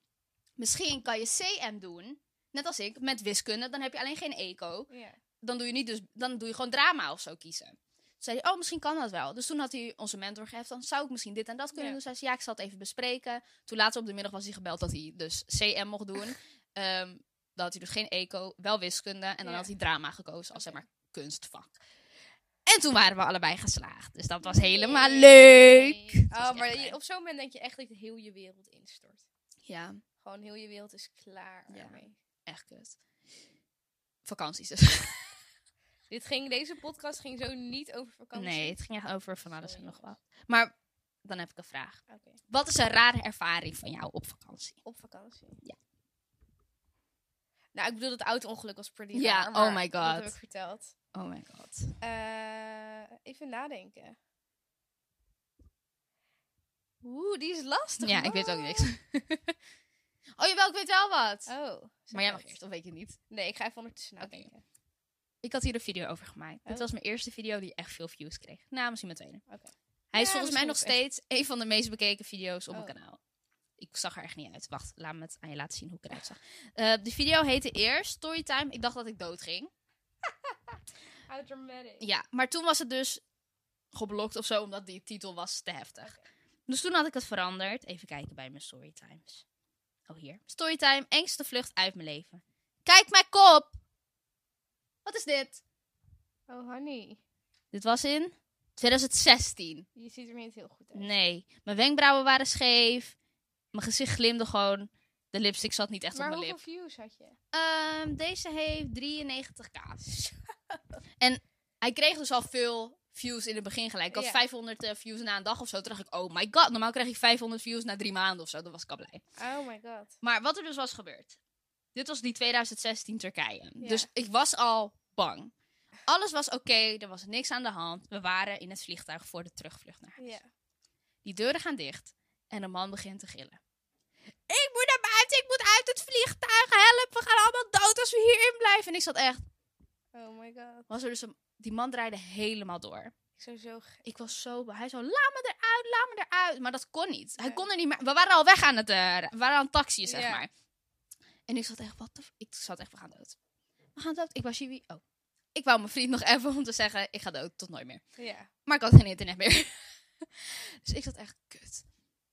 Speaker 1: Misschien kan je CM doen. Net als ik, met wiskunde. Dan heb je alleen geen eco.
Speaker 2: Ja.
Speaker 1: dan doe je niet dus dan doe je gewoon drama of zo kiezen. Toen zei hij, oh, misschien kan dat wel. Dus toen had hij onze mentor geëft, dan zou ik misschien dit en dat kunnen
Speaker 2: Ja.
Speaker 1: doen. Zei ze, ja, ik zal het even bespreken. Toen later op de middag was hij gebeld dat hij dus CM mocht doen. Ehm, dan had hij dus geen eco, wel wiskunde. En dan
Speaker 2: Ja.
Speaker 1: had hij drama gekozen als, zeg
Speaker 2: Oké.
Speaker 1: maar, kunstvak. En toen waren we allebei geslaagd. Dus dat was helemaal
Speaker 2: Yay.
Speaker 1: leuk. Het was
Speaker 2: Oh,
Speaker 1: echt
Speaker 2: maar
Speaker 1: fijn.
Speaker 2: je- op zo'n moment denk je echt dat heel je wereld instort.
Speaker 1: Ja,
Speaker 2: Gewoon heel je wereld is klaar
Speaker 1: Ja.
Speaker 2: ermee.
Speaker 1: echt kut. Vakanties dus.
Speaker 2: Dit ging, deze podcast ging zo niet over vakantie.
Speaker 1: Nee, het ging echt over van alles en
Speaker 2: Sorry.
Speaker 1: nog wat. Maar dan heb ik een vraag.
Speaker 2: Oké,
Speaker 1: Wat is een rare ervaring van jou op vakantie?
Speaker 2: op vakantie.
Speaker 1: Ja.
Speaker 2: Nou, ik bedoel, dat auto-ongeluk was pretty
Speaker 1: Ja,
Speaker 2: raar,
Speaker 1: oh
Speaker 2: maar
Speaker 1: my
Speaker 2: Dat
Speaker 1: god.
Speaker 2: heb ik verteld.
Speaker 1: Oh my god.
Speaker 2: Eh, even nadenken. Oeh, die is lastig.
Speaker 1: Ja, ik weet ook
Speaker 2: man.
Speaker 1: niks. oh jawel, ik weet wel wat.
Speaker 2: Oh. zeg
Speaker 1: maar jij mag
Speaker 2: het.
Speaker 1: eerst, of weet je niet?
Speaker 2: Nee, ik ga even ondertussen
Speaker 1: Oké.
Speaker 2: nadenken. Oké.
Speaker 1: Ik had hier een video over gemaakt. Dit
Speaker 2: Oh.
Speaker 1: was mijn eerste video die echt veel views kreeg. Nou, misschien mijn tweede.
Speaker 2: Oké.
Speaker 1: Hij is
Speaker 2: Ja,
Speaker 1: volgens mij nog
Speaker 2: misschien ook
Speaker 1: steeds een van de meest bekeken video's op
Speaker 2: Oh.
Speaker 1: mijn kanaal. Ik zag er echt niet uit. Wacht, laat me het aan je laten zien hoe ik eruit zag. Eh, de video heette eerst Storytime. Ik dacht dat ik dood ging.
Speaker 2: How dramatic.
Speaker 1: Ja, maar toen was het dus geblokt of zo, omdat die titel was te heftig. Dus toen had ik het veranderd. Even kijken bij mijn storytimes. Oh, hier. Storytime, engste vlucht uit mijn leven. Kijk mijn kop! Wat is dit?
Speaker 2: Oh, honey.
Speaker 1: Dit was in 2016.
Speaker 2: Je ziet er niet heel goed uit.
Speaker 1: Nee, mijn wenkbrauwen waren scheef. Mijn gezicht glimde gewoon. De lipstick zat niet echt
Speaker 2: maar
Speaker 1: op mijn
Speaker 2: hoeveel
Speaker 1: lip.
Speaker 2: views had je?
Speaker 1: Ehm, deze heeft 93k. en hij kreeg dus al veel views in het begin gelijk. Ik had
Speaker 2: Ja.
Speaker 1: 500 eh, views na een dag of zo. Toen dacht ik, oh my god, normaal krijg ik 500 views na drie maanden of zo. Dan was ik al blij.
Speaker 2: Oh my god.
Speaker 1: Maar wat er dus was gebeurd. Dit was die 2016 Turkije.
Speaker 2: Ja.
Speaker 1: Dus ik was al bang. Alles was oké, er was niks aan de hand. We waren in het vliegtuig voor de terugvlucht naar huis.
Speaker 2: Ja.
Speaker 1: Die deuren gaan dicht en een man begint te gillen. Ik moet naar buiten, ik moet uit het vliegtuig, help, we gaan allemaal dood als we hierin blijven. En ik zat echt,
Speaker 2: Oh my god.
Speaker 1: was er dus een, die man draaide helemaal door.
Speaker 2: Ik zou zo... ge-
Speaker 1: Ik was zo, bang. hij zo, laat me eruit, laat me eruit. Maar dat kon niet. Hij
Speaker 2: Nee.
Speaker 1: kon er niet meer. We waren al weg aan het, eh, we waren aan het taxiën, zeg
Speaker 2: Ja.
Speaker 1: maar. En ik zat echt, wat de f- Ik zat echt, we gaan dood. We gaan dood. Ik was Jiwi. Oh. Ik wou mijn vriend nog even om te zeggen, ik ga dood, tot nooit meer.
Speaker 2: Ja.
Speaker 1: Maar ik had geen internet meer. dus ik zat echt, kut.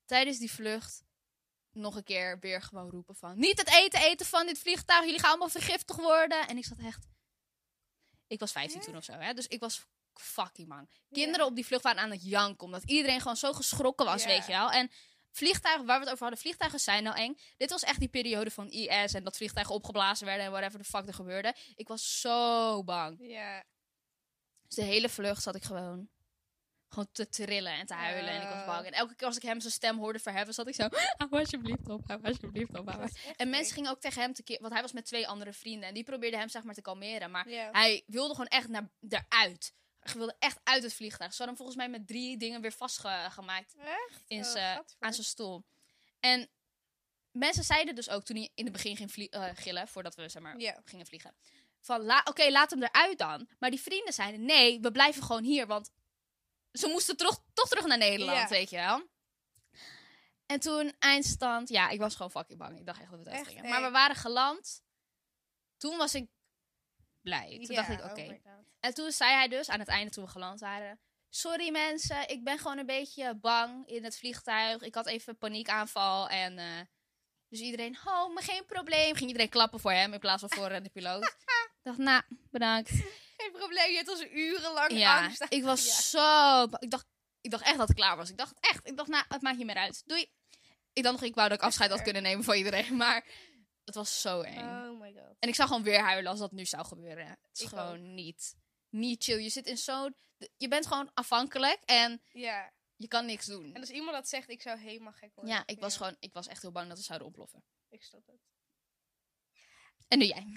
Speaker 1: Tijdens die vlucht nog een keer weer gewoon roepen van... Niet het eten eten van dit vliegtuig, jullie gaan allemaal vergiftigd worden. En ik zat echt... Ik was 15 toen of zo, hè. Dus ik was fucking bang. Kinderen op die vlucht waren aan het janken. Omdat iedereen gewoon zo geschrokken was,
Speaker 2: Ja.
Speaker 1: weet je wel. En vliegtuigen, waar we het over hadden, vliegtuigen zijn nou eng. Dit was echt die periode van IS en dat vliegtuigen opgeblazen werden en whatever the fuck er gebeurde. Ik was zo bang.
Speaker 2: Ja.
Speaker 1: Dus de hele vlucht zat ik gewoon. Gewoon te trillen en te huilen. En ik was
Speaker 2: Oh.
Speaker 1: bang. En elke keer als ik hem zijn stem hoorde verheffen, zat ik zo. Hou alsjeblieft op, hou alsjeblieft op. hou
Speaker 2: Dat
Speaker 1: alsjeblieft
Speaker 2: is echt
Speaker 1: Oh, En mensen
Speaker 2: gek.
Speaker 1: gingen ook tegen hem tekeer. Want hij was met twee andere vrienden. En die probeerden hem zeg maar te kalmeren. Maar
Speaker 2: Ja.
Speaker 1: hij wilde gewoon echt naar, eruit. Hij wilde echt uit het vliegtuig. Ze hadden hem volgens mij met drie dingen weer vastgemaakt
Speaker 2: Echt?
Speaker 1: in
Speaker 2: Oh,
Speaker 1: zijn-
Speaker 2: gadver.
Speaker 1: aan zijn stoel. En mensen zeiden dus ook toen hij in het begin ging vlie- eh, gillen, voordat we zeg maar
Speaker 2: Ja.
Speaker 1: gingen vliegen. Van la- oké, laat hem eruit dan. Maar die vrienden zeiden: nee, we blijven gewoon hier. Want ze moesten terug, toch terug naar Nederland,
Speaker 2: Ja.
Speaker 1: weet je wel. En toen eindstand, ja, ik was gewoon fucking bang. Ik dacht echt dat we het
Speaker 2: Echt,
Speaker 1: uitgingen. Maar
Speaker 2: hè?
Speaker 1: we waren geland. Toen was ik blij. Toen
Speaker 2: Ja,
Speaker 1: dacht ik: oké,
Speaker 2: oh my god.
Speaker 1: en toen zei hij dus, aan het einde toen we geland waren... Sorry mensen, ik ben gewoon een beetje bang in het vliegtuig. Ik had even een paniekaanval en... eh, dus iedereen, oh, maar geen probleem. Ging iedereen klappen voor hem in plaats van voor eh, de piloot. Ik dacht, nou, bedankt.
Speaker 2: Geen probleem, je hebt ons urenlang
Speaker 1: Ja,
Speaker 2: angst.
Speaker 1: ik was
Speaker 2: Ja.
Speaker 1: zo... ba- Ik dacht, ik dacht echt dat ik klaar was. Ik dacht echt, ik dacht, nou, het maakt niet meer uit. Doei. Ik dacht nog, ik wou dat ik afscheid had kunnen nemen van iedereen, maar... Het was zo eng.
Speaker 2: Oh my god.
Speaker 1: En ik zou gewoon weer huilen als dat nu zou gebeuren. Het is
Speaker 2: Ik
Speaker 1: gewoon niet. Niet chill. Je zit in zo'n. Je bent gewoon afhankelijk en
Speaker 2: Ja.
Speaker 1: je kan niks doen.
Speaker 2: En als iemand dat zegt, ik zou helemaal gek worden.
Speaker 1: ja, ik was gewoon. Ik was echt heel bang dat we zouden ontploffen.
Speaker 2: Ik snap het.
Speaker 1: En doe jij.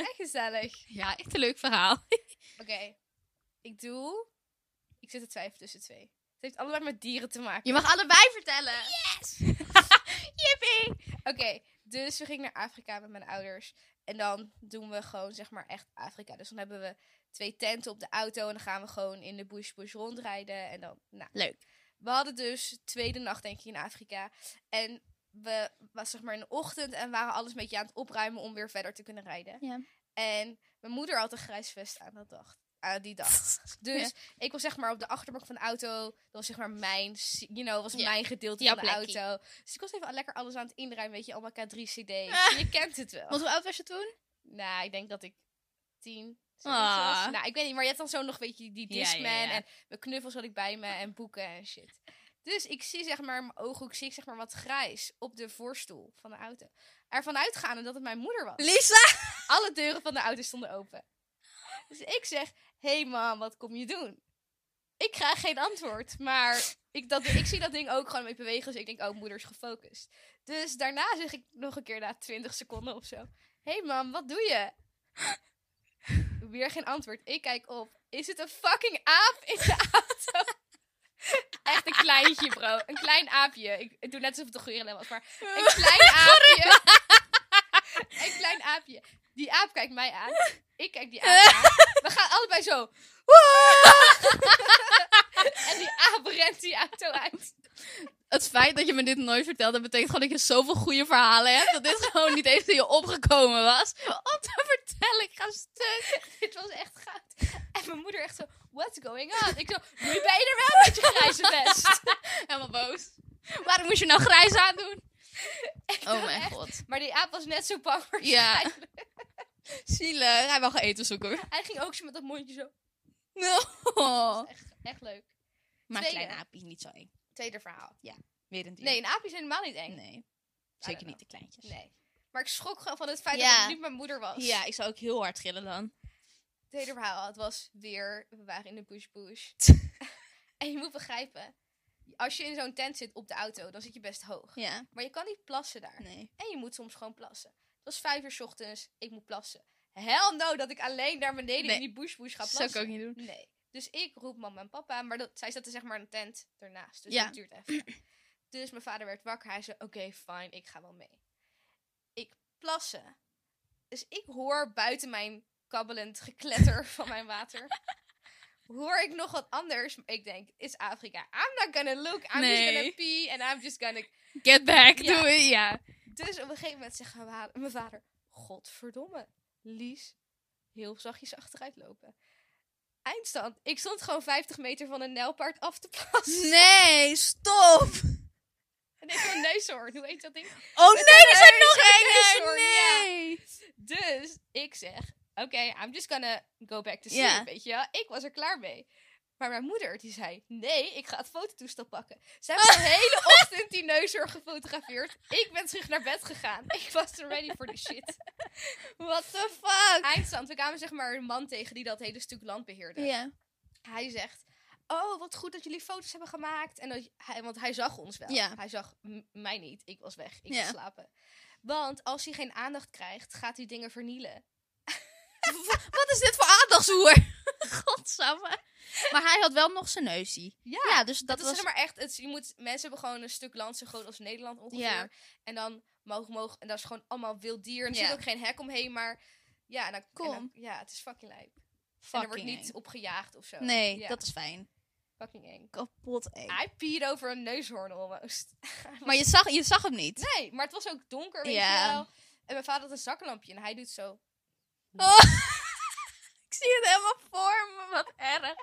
Speaker 2: Echt gezellig.
Speaker 1: Ja, echt een leuk verhaal.
Speaker 2: Oké. Ik doe... Ik zit te twijfelen tussen twee. Het heeft allebei met dieren te maken.
Speaker 1: Je mag allebei vertellen. Yes! Yippie!
Speaker 2: Oké, dus we gingen naar Afrika met mijn ouders. En dan doen we gewoon, zeg maar, echt Afrika. Dus dan hebben we twee tenten op de auto. En dan gaan we gewoon in de bush bush rondrijden. En dan, nou,
Speaker 1: Leuk.
Speaker 2: we hadden dus tweede nacht, denk ik, in Afrika. En we was zeg maar in de ochtend en waren alles een beetje aan het opruimen om weer verder te kunnen rijden.
Speaker 1: Ja.
Speaker 2: En mijn moeder had een grijs vest aan dat dag. Aan die dag. Dus
Speaker 1: Ja.
Speaker 2: ik was zeg maar op de achterbank van de auto. Dat was zeg maar mijn, si- you know, was
Speaker 1: Ja.
Speaker 2: mijn gedeelte
Speaker 1: Jouw
Speaker 2: van de
Speaker 1: plekkie.
Speaker 2: auto. Dus ik was even lekker alles aan het inruimen. Weet je, allemaal K3 CD's.
Speaker 1: Ah.
Speaker 2: Je kent het wel.
Speaker 1: Want hoe oud was je toen?
Speaker 2: Nou, ik denk dat ik tien. zoiets
Speaker 1: Ah.
Speaker 2: was. Nou, ik weet niet, maar je hebt dan zo nog, weet je, die
Speaker 1: Ja, ja,
Speaker 2: Discman
Speaker 1: ja.
Speaker 2: en mijn knuffels had ik bij me en boeken en shit. Dus ik zie zeg maar in mijn ooghoek, zie ik zeg maar wat grijs op de voorstoel van de auto. Ervan uitgaande dat het mijn moeder was.
Speaker 1: Lisa!
Speaker 2: Alle deuren van de auto stonden open. Dus ik zeg, hé hey mam, wat kom je doen? Ik krijg geen antwoord, maar ik, dat, ik zie dat ding ook gewoon mee bewegen. Dus ik denk, oh, moeder is gefocust. Dus daarna zeg ik nog een keer na 20 seconden of zo. Hé hey mam, wat doe je? Weer geen antwoord. Ik kijk op. Is het een fucking aap in de auto? Echt een kleintje, bro. Een klein aapje. Ik, ik doe net alsof het een gorilla was, maar een klein aapje. een klein aapje. Die aap kijkt mij aan. Ik kijk die aap aan. We gaan allebei zo. en die aap rent die auto uit.
Speaker 1: Het feit dat je me dit nooit vertelde, betekent gewoon dat je zoveel goede verhalen hebt. Dat dit gewoon niet eens in je opgekomen was. Om te vertellen, ik ga stuk.
Speaker 2: Dit was echt goud. En mijn moeder echt zo, what's going on? Ik zo, nu ben je er wel met je grijze vest.
Speaker 1: Helemaal boos. Waarom moest je nou grijs aandoen?
Speaker 2: Ik
Speaker 1: Oh
Speaker 2: dacht
Speaker 1: mijn
Speaker 2: echt-
Speaker 1: god.
Speaker 2: Maar die aap was net zo bang voor
Speaker 1: Ja. Zielig. Hij wil gaan eten zoeken. hoor.
Speaker 2: Hij ging ook zo met dat mondje zo.
Speaker 1: No.
Speaker 2: Echt, echt leuk.
Speaker 1: Maar
Speaker 2: Tweede.
Speaker 1: kleine aapje niet zo eng.
Speaker 2: Tweede verhaal.
Speaker 1: Weer een dier.
Speaker 2: Nee, een aapje is helemaal niet eng.
Speaker 1: Nee. Zeker
Speaker 2: know.
Speaker 1: niet de kleintjes.
Speaker 2: Nee. Maar ik schrok gewoon van het feit
Speaker 1: Ja.
Speaker 2: dat het niet mijn moeder was.
Speaker 1: Ja, ik zou ook heel hard gillen dan.
Speaker 2: tweede verhaal. Het was weer, we waren in de bush bush. en je moet begrijpen, als je in zo'n tent zit op de auto, dan zit je best hoog.
Speaker 1: Ja.
Speaker 2: Maar je kan niet plassen daar.
Speaker 1: Nee.
Speaker 2: En je moet soms gewoon plassen. Het was vijf uur 's ochtends, ik moet plassen. Hell no, dat ik alleen daar beneden
Speaker 1: Nee.
Speaker 2: in die bush bush ga
Speaker 1: Dat
Speaker 2: plassen.
Speaker 1: zou ik ook niet doen.
Speaker 2: Nee. Dus ik roep mama en papa, maar dat, zij zaten zeg maar in een tent ernaast. Dus
Speaker 1: Ja.
Speaker 2: dat duurt even. Dus mijn vader werd wakker. Hij zei, oké, fine, ik ga wel mee. Ik plassen. Dus ik hoor buiten mijn kabbelend gekletter van mijn water... hoor ik nog wat anders. Ik denk, is Afrika. I'm not gonna look, I'm just
Speaker 1: Nee.
Speaker 2: gonna pee and I'm just gonna...
Speaker 1: Get back,
Speaker 2: Ja.
Speaker 1: doe je. Ja.
Speaker 2: Dus op een gegeven moment zegt mijn wa- mijn vader... Godverdomme, Lies, heel zachtjes achteruit lopen. Eindstand. Ik stond gewoon 50 meter van een nijlpaard af te plassen.
Speaker 1: Nee, stop.
Speaker 2: En ik een neushoorn. Hoe heet dat ding?
Speaker 1: Oh
Speaker 2: Met
Speaker 1: nee, er zijn
Speaker 2: een
Speaker 1: nog
Speaker 2: neus,
Speaker 1: enger.
Speaker 2: hoor, ja.
Speaker 1: Nee.
Speaker 2: Dus ik zeg, oké, I'm just gonna go back to sleep,
Speaker 1: Ja.
Speaker 2: weet je wel. Ik was er klaar mee. Maar mijn moeder, die zei, nee, ik ga het fototoestel pakken. Ze hebben de hele ochtend die neushoorn gefotografeerd. Ik ben terug naar bed gegaan. Ik was er ready for the shit.
Speaker 1: What the fuck?
Speaker 2: Eindstand, we kwamen zeg maar een man tegen die dat hele stuk land beheerde.
Speaker 1: Ja.
Speaker 2: Hij zegt, oh, wat goed dat jullie foto's hebben gemaakt. En dat, hij, want hij zag ons wel.
Speaker 1: Ja.
Speaker 2: Hij zag m- mij niet. Ik was weg. Ik
Speaker 1: Ja.
Speaker 2: was slapen. Want als hij geen aandacht krijgt, gaat hij dingen vernielen.
Speaker 1: Wat is dit voor aandachtshoer? Godsamme. Maar hij had wel nog zijn neusie. Ja, dus dat,
Speaker 2: Dat, is
Speaker 1: was...
Speaker 2: zeg maar echt. Het, je moet, mensen hebben gewoon een stuk land zo groot als Nederland ongeveer.
Speaker 1: Ja.
Speaker 2: En dan mogen, mogen. En dat is gewoon allemaal wild dier. En er
Speaker 1: Ja.
Speaker 2: zit ook geen hek omheen, maar. Ja, en dan,
Speaker 1: Kom.
Speaker 2: en dan- ja, het is fucking lijp. en er
Speaker 1: Fucking
Speaker 2: wordt niet
Speaker 1: eng.
Speaker 2: opgejaagd of zo.
Speaker 1: Nee,
Speaker 2: Ja,
Speaker 1: dat is fijn.
Speaker 2: Fucking eng.
Speaker 1: Kapot eng.
Speaker 2: Hij peed over een neushoorn almost.
Speaker 1: Maar je zag, je zag hem niet.
Speaker 2: Nee, maar het was ook donker, weet
Speaker 1: Ja.
Speaker 2: je wel. En mijn vader had een zaklampje en hij doet zo.
Speaker 1: Oh. Ik zie het helemaal voor me. Wat erg.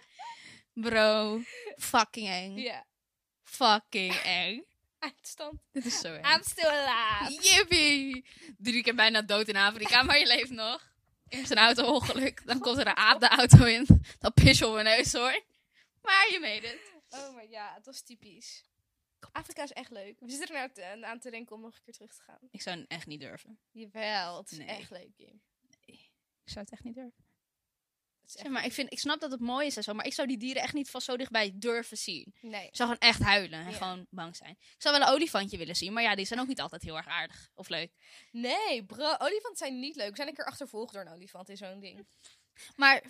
Speaker 1: Bro. Fucking eng.
Speaker 2: Ja,
Speaker 1: Fucking eng.
Speaker 2: eindstand.
Speaker 1: Dit is zo eng.
Speaker 2: I'm still alive.
Speaker 1: Jippie. Drie keer bijna dood in Afrika, maar je leeft nog. Eerst een auto-ongeluk. Dan komt er een aap de auto in. Dan pis je op mijn neus hoor. Maar je made it.
Speaker 2: Oh my ja, het was typisch. Afrika is echt leuk. We zitten er nou te- aan te denken om nog een keer terug te gaan.
Speaker 1: Ik zou het echt niet durven.
Speaker 2: Jawel, het is
Speaker 1: Nee.
Speaker 2: echt leuk, Kim.
Speaker 1: Ik zou het echt niet durven.
Speaker 2: Het is echt
Speaker 1: Zeg maar, ik, vind, ik snap dat het mooi is en zo, maar ik zou die dieren echt niet van zo dichtbij durven zien.
Speaker 2: Nee.
Speaker 1: Ik zou gewoon echt huilen en
Speaker 2: Ja.
Speaker 1: gewoon bang zijn. Ik zou wel een olifantje willen zien, maar ja, die zijn ook niet altijd heel erg aardig of leuk.
Speaker 2: Nee, bro. Olifanten zijn niet leuk. We zijn een keer achtervolgd door een olifant in zo'n ding.
Speaker 1: Maar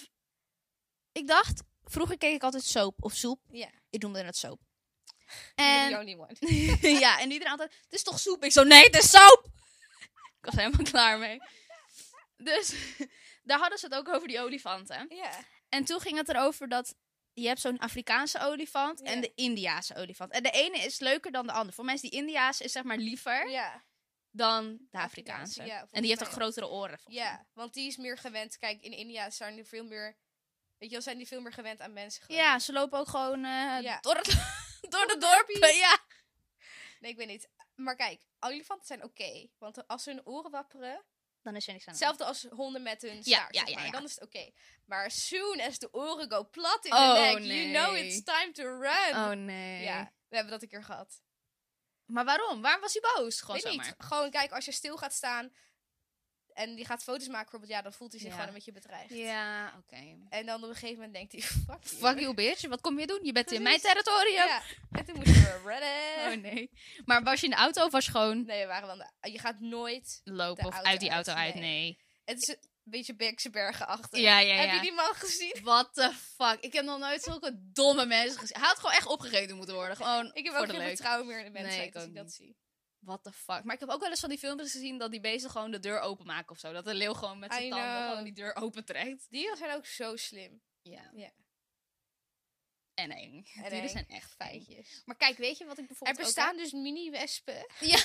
Speaker 1: ik dacht, vroeger keek ik altijd soap of soep.
Speaker 2: Ja.
Speaker 1: Ik noemde het soap.
Speaker 2: You're
Speaker 1: En
Speaker 2: the only one.
Speaker 1: ja, en iedereen altijd, het is toch soep? Ik zo, nee, het is soap! Ik was helemaal klaar mee. Dus daar hadden ze het ook over die olifanten.
Speaker 2: Ja.
Speaker 1: En toen ging het erover dat je hebt zo'n Afrikaanse olifant
Speaker 2: Ja.
Speaker 1: en de Indiaanse olifant. En de ene is leuker dan de ander. Voor mensen die Indiaanse is zeg maar liever
Speaker 2: Ja.
Speaker 1: dan de
Speaker 2: Afrikaanse,
Speaker 1: Afrikaanse.
Speaker 2: ja,
Speaker 1: en
Speaker 2: volgens
Speaker 1: die heeft
Speaker 2: mij
Speaker 1: ook grotere oren. volgens mij.
Speaker 2: Ja. Want die is meer gewend. Kijk, in India zijn die veel meer... Weet je wel, zijn die veel meer gewend aan mensen. geloof
Speaker 1: Ja,
Speaker 2: ik.
Speaker 1: ze lopen ook gewoon eh,
Speaker 2: Ja.
Speaker 1: door, het, door de
Speaker 2: het
Speaker 1: dorpen.
Speaker 2: dorpie.
Speaker 1: Ja.
Speaker 2: Nee, ik weet niet. Maar kijk, olifanten zijn oké. want als ze hun oren wapperen...
Speaker 1: Dan is er niks aan. de hand.
Speaker 2: Hetzelfde als honden met hun staart,
Speaker 1: ja,
Speaker 2: zeg
Speaker 1: ja,
Speaker 2: maar.
Speaker 1: ja.
Speaker 2: Dan is het oké. Maar as soon as de oren go plat in
Speaker 1: Oh,
Speaker 2: de nek,
Speaker 1: nee.
Speaker 2: you know it's time to run.
Speaker 1: Oh nee.
Speaker 2: Ja, we hebben dat een keer gehad.
Speaker 1: Maar waarom? Waarom was hij boos? Gewoon
Speaker 2: Weet
Speaker 1: zomaar.
Speaker 2: niet. Gewoon kijk, als je stil gaat staan en die gaat foto's maken bijvoorbeeld, ja, dan voelt hij zich
Speaker 1: Ja.
Speaker 2: gewoon een beetje bedreigd.
Speaker 1: Ja, oké.
Speaker 2: En dan op een gegeven moment denkt hij, fuck, you.
Speaker 1: Fuck you bitch, wat kom je doen? Je bent in mijn
Speaker 2: Precies.
Speaker 1: territorium.
Speaker 2: Ja. En toen moesten we redden.
Speaker 1: Oh nee. Maar was je in de auto of was je gewoon
Speaker 2: Nee, we waren wel... aan de- Je gaat nooit...
Speaker 1: lopen
Speaker 2: De
Speaker 1: of
Speaker 2: auto
Speaker 1: uit die
Speaker 2: uit,
Speaker 1: auto uit?
Speaker 2: nee.
Speaker 1: Nee.
Speaker 2: Het is een beetje Beekse bergen achter.
Speaker 1: Ja, ja, ja.
Speaker 2: Heb je die man gezien?
Speaker 1: What the fuck? Ik heb nog nooit zulke domme mensen gezien. Hij had gewoon echt opgegeten moeten worden. Gewoon
Speaker 2: Ik heb
Speaker 1: voor
Speaker 2: ook
Speaker 1: de
Speaker 2: geen
Speaker 1: leuk.
Speaker 2: vertrouwen meer in de
Speaker 1: Nee,
Speaker 2: mensen
Speaker 1: ik
Speaker 2: als
Speaker 1: ook
Speaker 2: ik dat
Speaker 1: niet.
Speaker 2: zie.
Speaker 1: What the fuck? Maar ik heb ook wel eens van die filmpjes gezien dat die beesten gewoon de deur openmaken of zo. Dat de leeuw gewoon met zijn
Speaker 2: I
Speaker 1: tanden
Speaker 2: know.
Speaker 1: gewoon die deur opentrekt.
Speaker 2: Dieren zijn ook zo slim.
Speaker 1: Ja.
Speaker 2: Ja.
Speaker 1: En eng.
Speaker 2: En
Speaker 1: Dieren
Speaker 2: eng.
Speaker 1: zijn echt fijn.
Speaker 2: Feitjes.
Speaker 1: Maar kijk, weet je wat ik
Speaker 2: Er
Speaker 1: bijvoorbeeld
Speaker 2: bestaan dus mini-wespen.
Speaker 1: ook...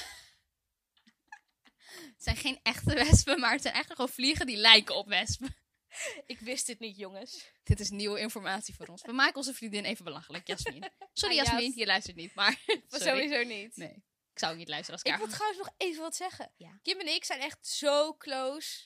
Speaker 1: Het zijn geen echte wespen, maar het zijn eigenlijk gewoon vliegen die lijken op wespen.
Speaker 2: Ik wist dit niet, jongens.
Speaker 1: Dit is nieuwe informatie voor ons. We maken onze vriendin even belachelijk, Jasmin. Sorry
Speaker 2: Ah, Jas.
Speaker 1: Jasmin, je luistert niet, maar...
Speaker 2: Maar
Speaker 1: Sorry.
Speaker 2: sowieso niet.
Speaker 1: Nee, ik zou ook niet luisteren als
Speaker 2: Ik
Speaker 1: ik
Speaker 2: wil trouwens nog even wat zeggen.
Speaker 1: Ja.
Speaker 2: Kim en ik zijn echt zo close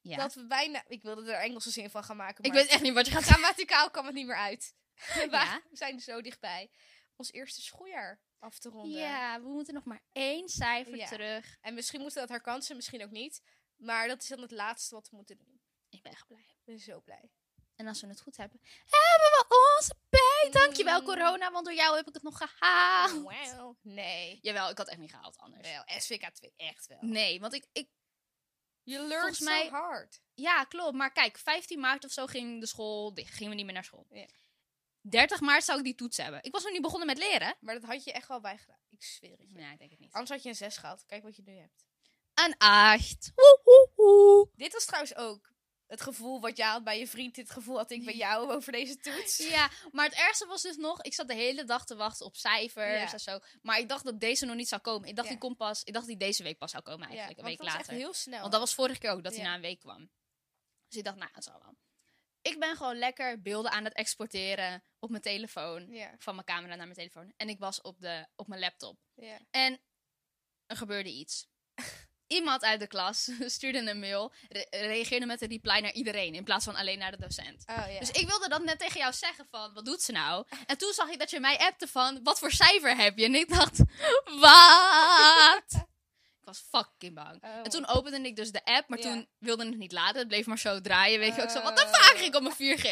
Speaker 1: Ja.
Speaker 2: dat we bijna... Ik wilde er Engelse zin van gaan maken,
Speaker 1: Ik
Speaker 2: maar
Speaker 1: weet echt niet wat je gaat zeggen.
Speaker 2: grammaticaal kwam het niet meer uit. We
Speaker 1: Ja.
Speaker 2: zijn er zo dichtbij. Ons eerste schooljaar af te ronden.
Speaker 1: Ja, we moeten nog maar één cijfer
Speaker 2: Ja.
Speaker 1: terug.
Speaker 2: En misschien moeten we dat herkansen, misschien ook niet. Maar dat is dan het laatste wat we moeten doen.
Speaker 1: Ik ben echt blij.
Speaker 2: Ik ben zo blij.
Speaker 1: En als we het goed hebben, hebben we onze bij. Dankjewel
Speaker 2: Mm. Oh,
Speaker 1: corona, want door jou heb ik het nog gehaald.
Speaker 2: Wauw. Nee.
Speaker 1: Oh, Jawel, ik had echt niet gehaald anders.
Speaker 2: Wel, SVK2 echt wel.
Speaker 1: Nee, want ik, ik...
Speaker 2: Je
Speaker 1: Volgens
Speaker 2: learnt
Speaker 1: mij-
Speaker 2: so hard.
Speaker 1: Ja, klopt. Maar kijk, 15 maart of zo ging de school dicht. Gingen we niet meer naar school.
Speaker 2: Ja.
Speaker 1: 30 maart zou ik die toets hebben. Ik was nog niet begonnen met leren.
Speaker 2: Maar dat had je echt wel bijgedaan. Ik zweer het je.
Speaker 1: Nee, ik denk het niet.
Speaker 2: Anders had je een 6 gehad. Kijk wat je nu hebt.
Speaker 1: Een 8. Woe, woe, woe.
Speaker 2: Dit was trouwens ook het gevoel wat jij had bij je vriend. Dit gevoel had ik bij jou over deze toets.
Speaker 1: Ja, maar het ergste was dus nog... Ik zat de hele dag te wachten op cijfers
Speaker 2: Ja.
Speaker 1: en zo. Maar ik dacht dat deze nog niet zou komen. Ik dacht
Speaker 2: Ja.
Speaker 1: die komt pas... Ik dacht die deze week pas zou komen
Speaker 2: Ja,
Speaker 1: eigenlijk.
Speaker 2: want
Speaker 1: een week
Speaker 2: dat was
Speaker 1: later.
Speaker 2: echt heel snel.
Speaker 1: Want dat was vorige keer ook, dat hij
Speaker 2: Oh. Ja.
Speaker 1: na een week kwam. Dus ik dacht, nou, het zal wel. Ik ben gewoon lekker beelden aan het exporteren op mijn telefoon.
Speaker 2: Ja,
Speaker 1: Van mijn camera naar mijn telefoon. En ik was op, de, op mijn laptop.
Speaker 2: ja.
Speaker 1: En er gebeurde iets. Iemand uit de klas stuurde een mail. re- reageerde met een reply naar iedereen. In plaats van alleen naar de docent.
Speaker 2: Oh ja.
Speaker 1: Dus ik wilde dat net tegen jou zeggen van, wat doet ze nou? En toen zag ik dat je mij appte van, wat voor cijfer heb je? En ik dacht, wat? ik was fucking bang.
Speaker 2: Oh.
Speaker 1: En toen opende ik dus de app, maar
Speaker 2: Ja.
Speaker 1: toen wilde het niet laden. Het bleef maar zo draaien, weet je. ook zo, wat de
Speaker 2: Oh.
Speaker 1: fuck? Ik op mijn 4G.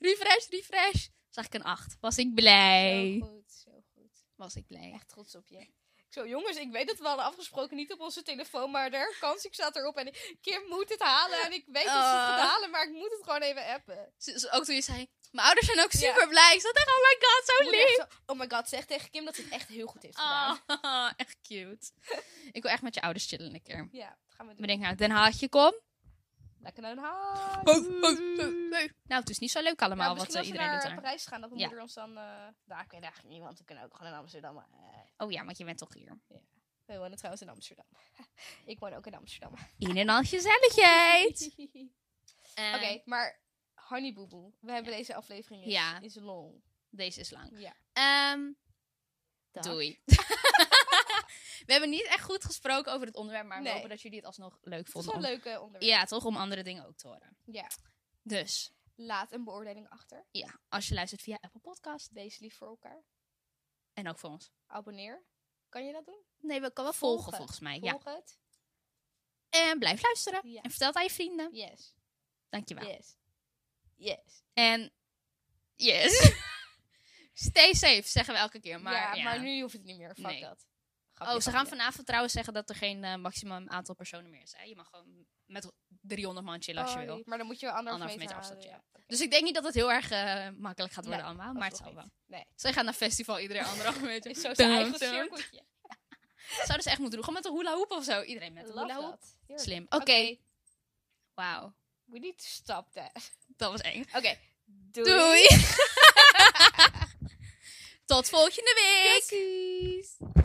Speaker 1: Refresh, refresh. Zag ik een 8. Was ik blij.
Speaker 2: Zo goed, zo goed.
Speaker 1: Was ik blij.
Speaker 2: Echt trots op je. Ik Zo, jongens, ik weet dat we hadden afgesproken niet op onze telefoon, maar er kans, ik zat erop en ik- Kim moet het halen en ik weet dat ze het
Speaker 1: Oh.
Speaker 2: gaat halen, maar ik moet het gewoon even appen.
Speaker 1: Z- z- Ook toen je zei, mijn ouders zijn ook
Speaker 2: Ja.
Speaker 1: super blij. Ik zat echt, oh my god, zo
Speaker 2: Moet echt
Speaker 1: lief.
Speaker 2: zo- oh my god, zeg tegen Kim dat ze het echt heel goed heeft gedaan.
Speaker 1: Oh, echt cute. ik wil echt met je ouders chillen een keer.
Speaker 2: Ja, gaan we doen.
Speaker 1: Bedenk nou, Den Haagje, kom.
Speaker 2: Lekker naar Den Haag.
Speaker 1: Ho, ho, ho, ho. Nou, het is niet zo leuk allemaal
Speaker 2: Nou,
Speaker 1: oh, wat eh,
Speaker 2: misschien als we
Speaker 1: iedereen doet
Speaker 2: naar eh,
Speaker 1: daar.
Speaker 2: Parijs gaan, dat mijn
Speaker 1: Ja.
Speaker 2: moeder ons dan... eh nou, ik weet eigenlijk niet, want we kunnen ook gewoon in Amsterdam. Maar, eh,
Speaker 1: Oh ja, want je bent toch hier.
Speaker 2: we wonen trouwens in Amsterdam. ik woon ook in Amsterdam.
Speaker 1: In en al gezelligheid.
Speaker 2: Oké, maar Honey Boo Boo. We hebben deze aflevering is,
Speaker 1: Eh. Ja.
Speaker 2: is long.
Speaker 1: Deze is lang.
Speaker 2: Ja.
Speaker 1: Ehm,
Speaker 2: Dag.
Speaker 1: doei. we hebben niet echt goed gesproken over het onderwerp, maar we
Speaker 2: Nee.
Speaker 1: hopen dat jullie het alsnog leuk
Speaker 2: Het is
Speaker 1: vonden.
Speaker 2: wel een
Speaker 1: om-
Speaker 2: leuke onderwerp.
Speaker 1: Ja, toch? Om andere dingen ook te horen.
Speaker 2: Ja.
Speaker 1: Dus,
Speaker 2: Laat een beoordeling achter.
Speaker 1: ja, als je luistert via Apple Podcast
Speaker 2: Wees lief voor elkaar.
Speaker 1: en ook voor ons.
Speaker 2: Abonneer. Kan je dat doen?
Speaker 1: Nee, we kan wel volgen,
Speaker 2: Volgen.
Speaker 1: volgens mij. Ja.
Speaker 2: Volg het.
Speaker 1: En blijf luisteren.
Speaker 2: Ja.
Speaker 1: En vertel het aan je vrienden.
Speaker 2: Yes.
Speaker 1: Dankjewel.
Speaker 2: Yes. Yes.
Speaker 1: En yes. Stay safe, zeggen we elke keer. Maar,
Speaker 2: ja,
Speaker 1: ja.
Speaker 2: maar nu hoeft het niet meer. Fuck
Speaker 1: Nee.
Speaker 2: dat.
Speaker 1: Oh,
Speaker 2: Grapje,
Speaker 1: ze gaan
Speaker 2: grapje.
Speaker 1: vanavond trouwens zeggen dat er geen eh, maximum aantal personen meer is. Hè? Je mag gewoon met 300 man chillen als je
Speaker 2: Oh,
Speaker 1: wil.
Speaker 2: nee. Maar dan moet je wel anderhalf,
Speaker 1: Anderhalf meter
Speaker 2: houden,
Speaker 1: afstand,
Speaker 2: ja.
Speaker 1: Dus ik denk niet dat het heel erg eh, makkelijk gaat worden
Speaker 2: Nee,
Speaker 1: allemaal, maar het
Speaker 2: Alsnog
Speaker 1: zal wel.
Speaker 2: niet. Nee.
Speaker 1: Zij gaan naar festival iedereen anderhalf meter.
Speaker 2: Is zo zijn
Speaker 1: Dum,
Speaker 2: eigen
Speaker 1: dum.
Speaker 2: cirkeltje.
Speaker 1: Zouden ze echt moeten doen. Gewoon met een hula hoop of zo. Iedereen met een
Speaker 2: Love
Speaker 1: hula hoop.
Speaker 2: that. Heerlijk.
Speaker 1: Slim. Oké. Wauw.
Speaker 2: We need to stop that.
Speaker 1: Dat was eng.
Speaker 2: Oké. Doei.
Speaker 1: Doei. Tot volgende week.
Speaker 2: Doei.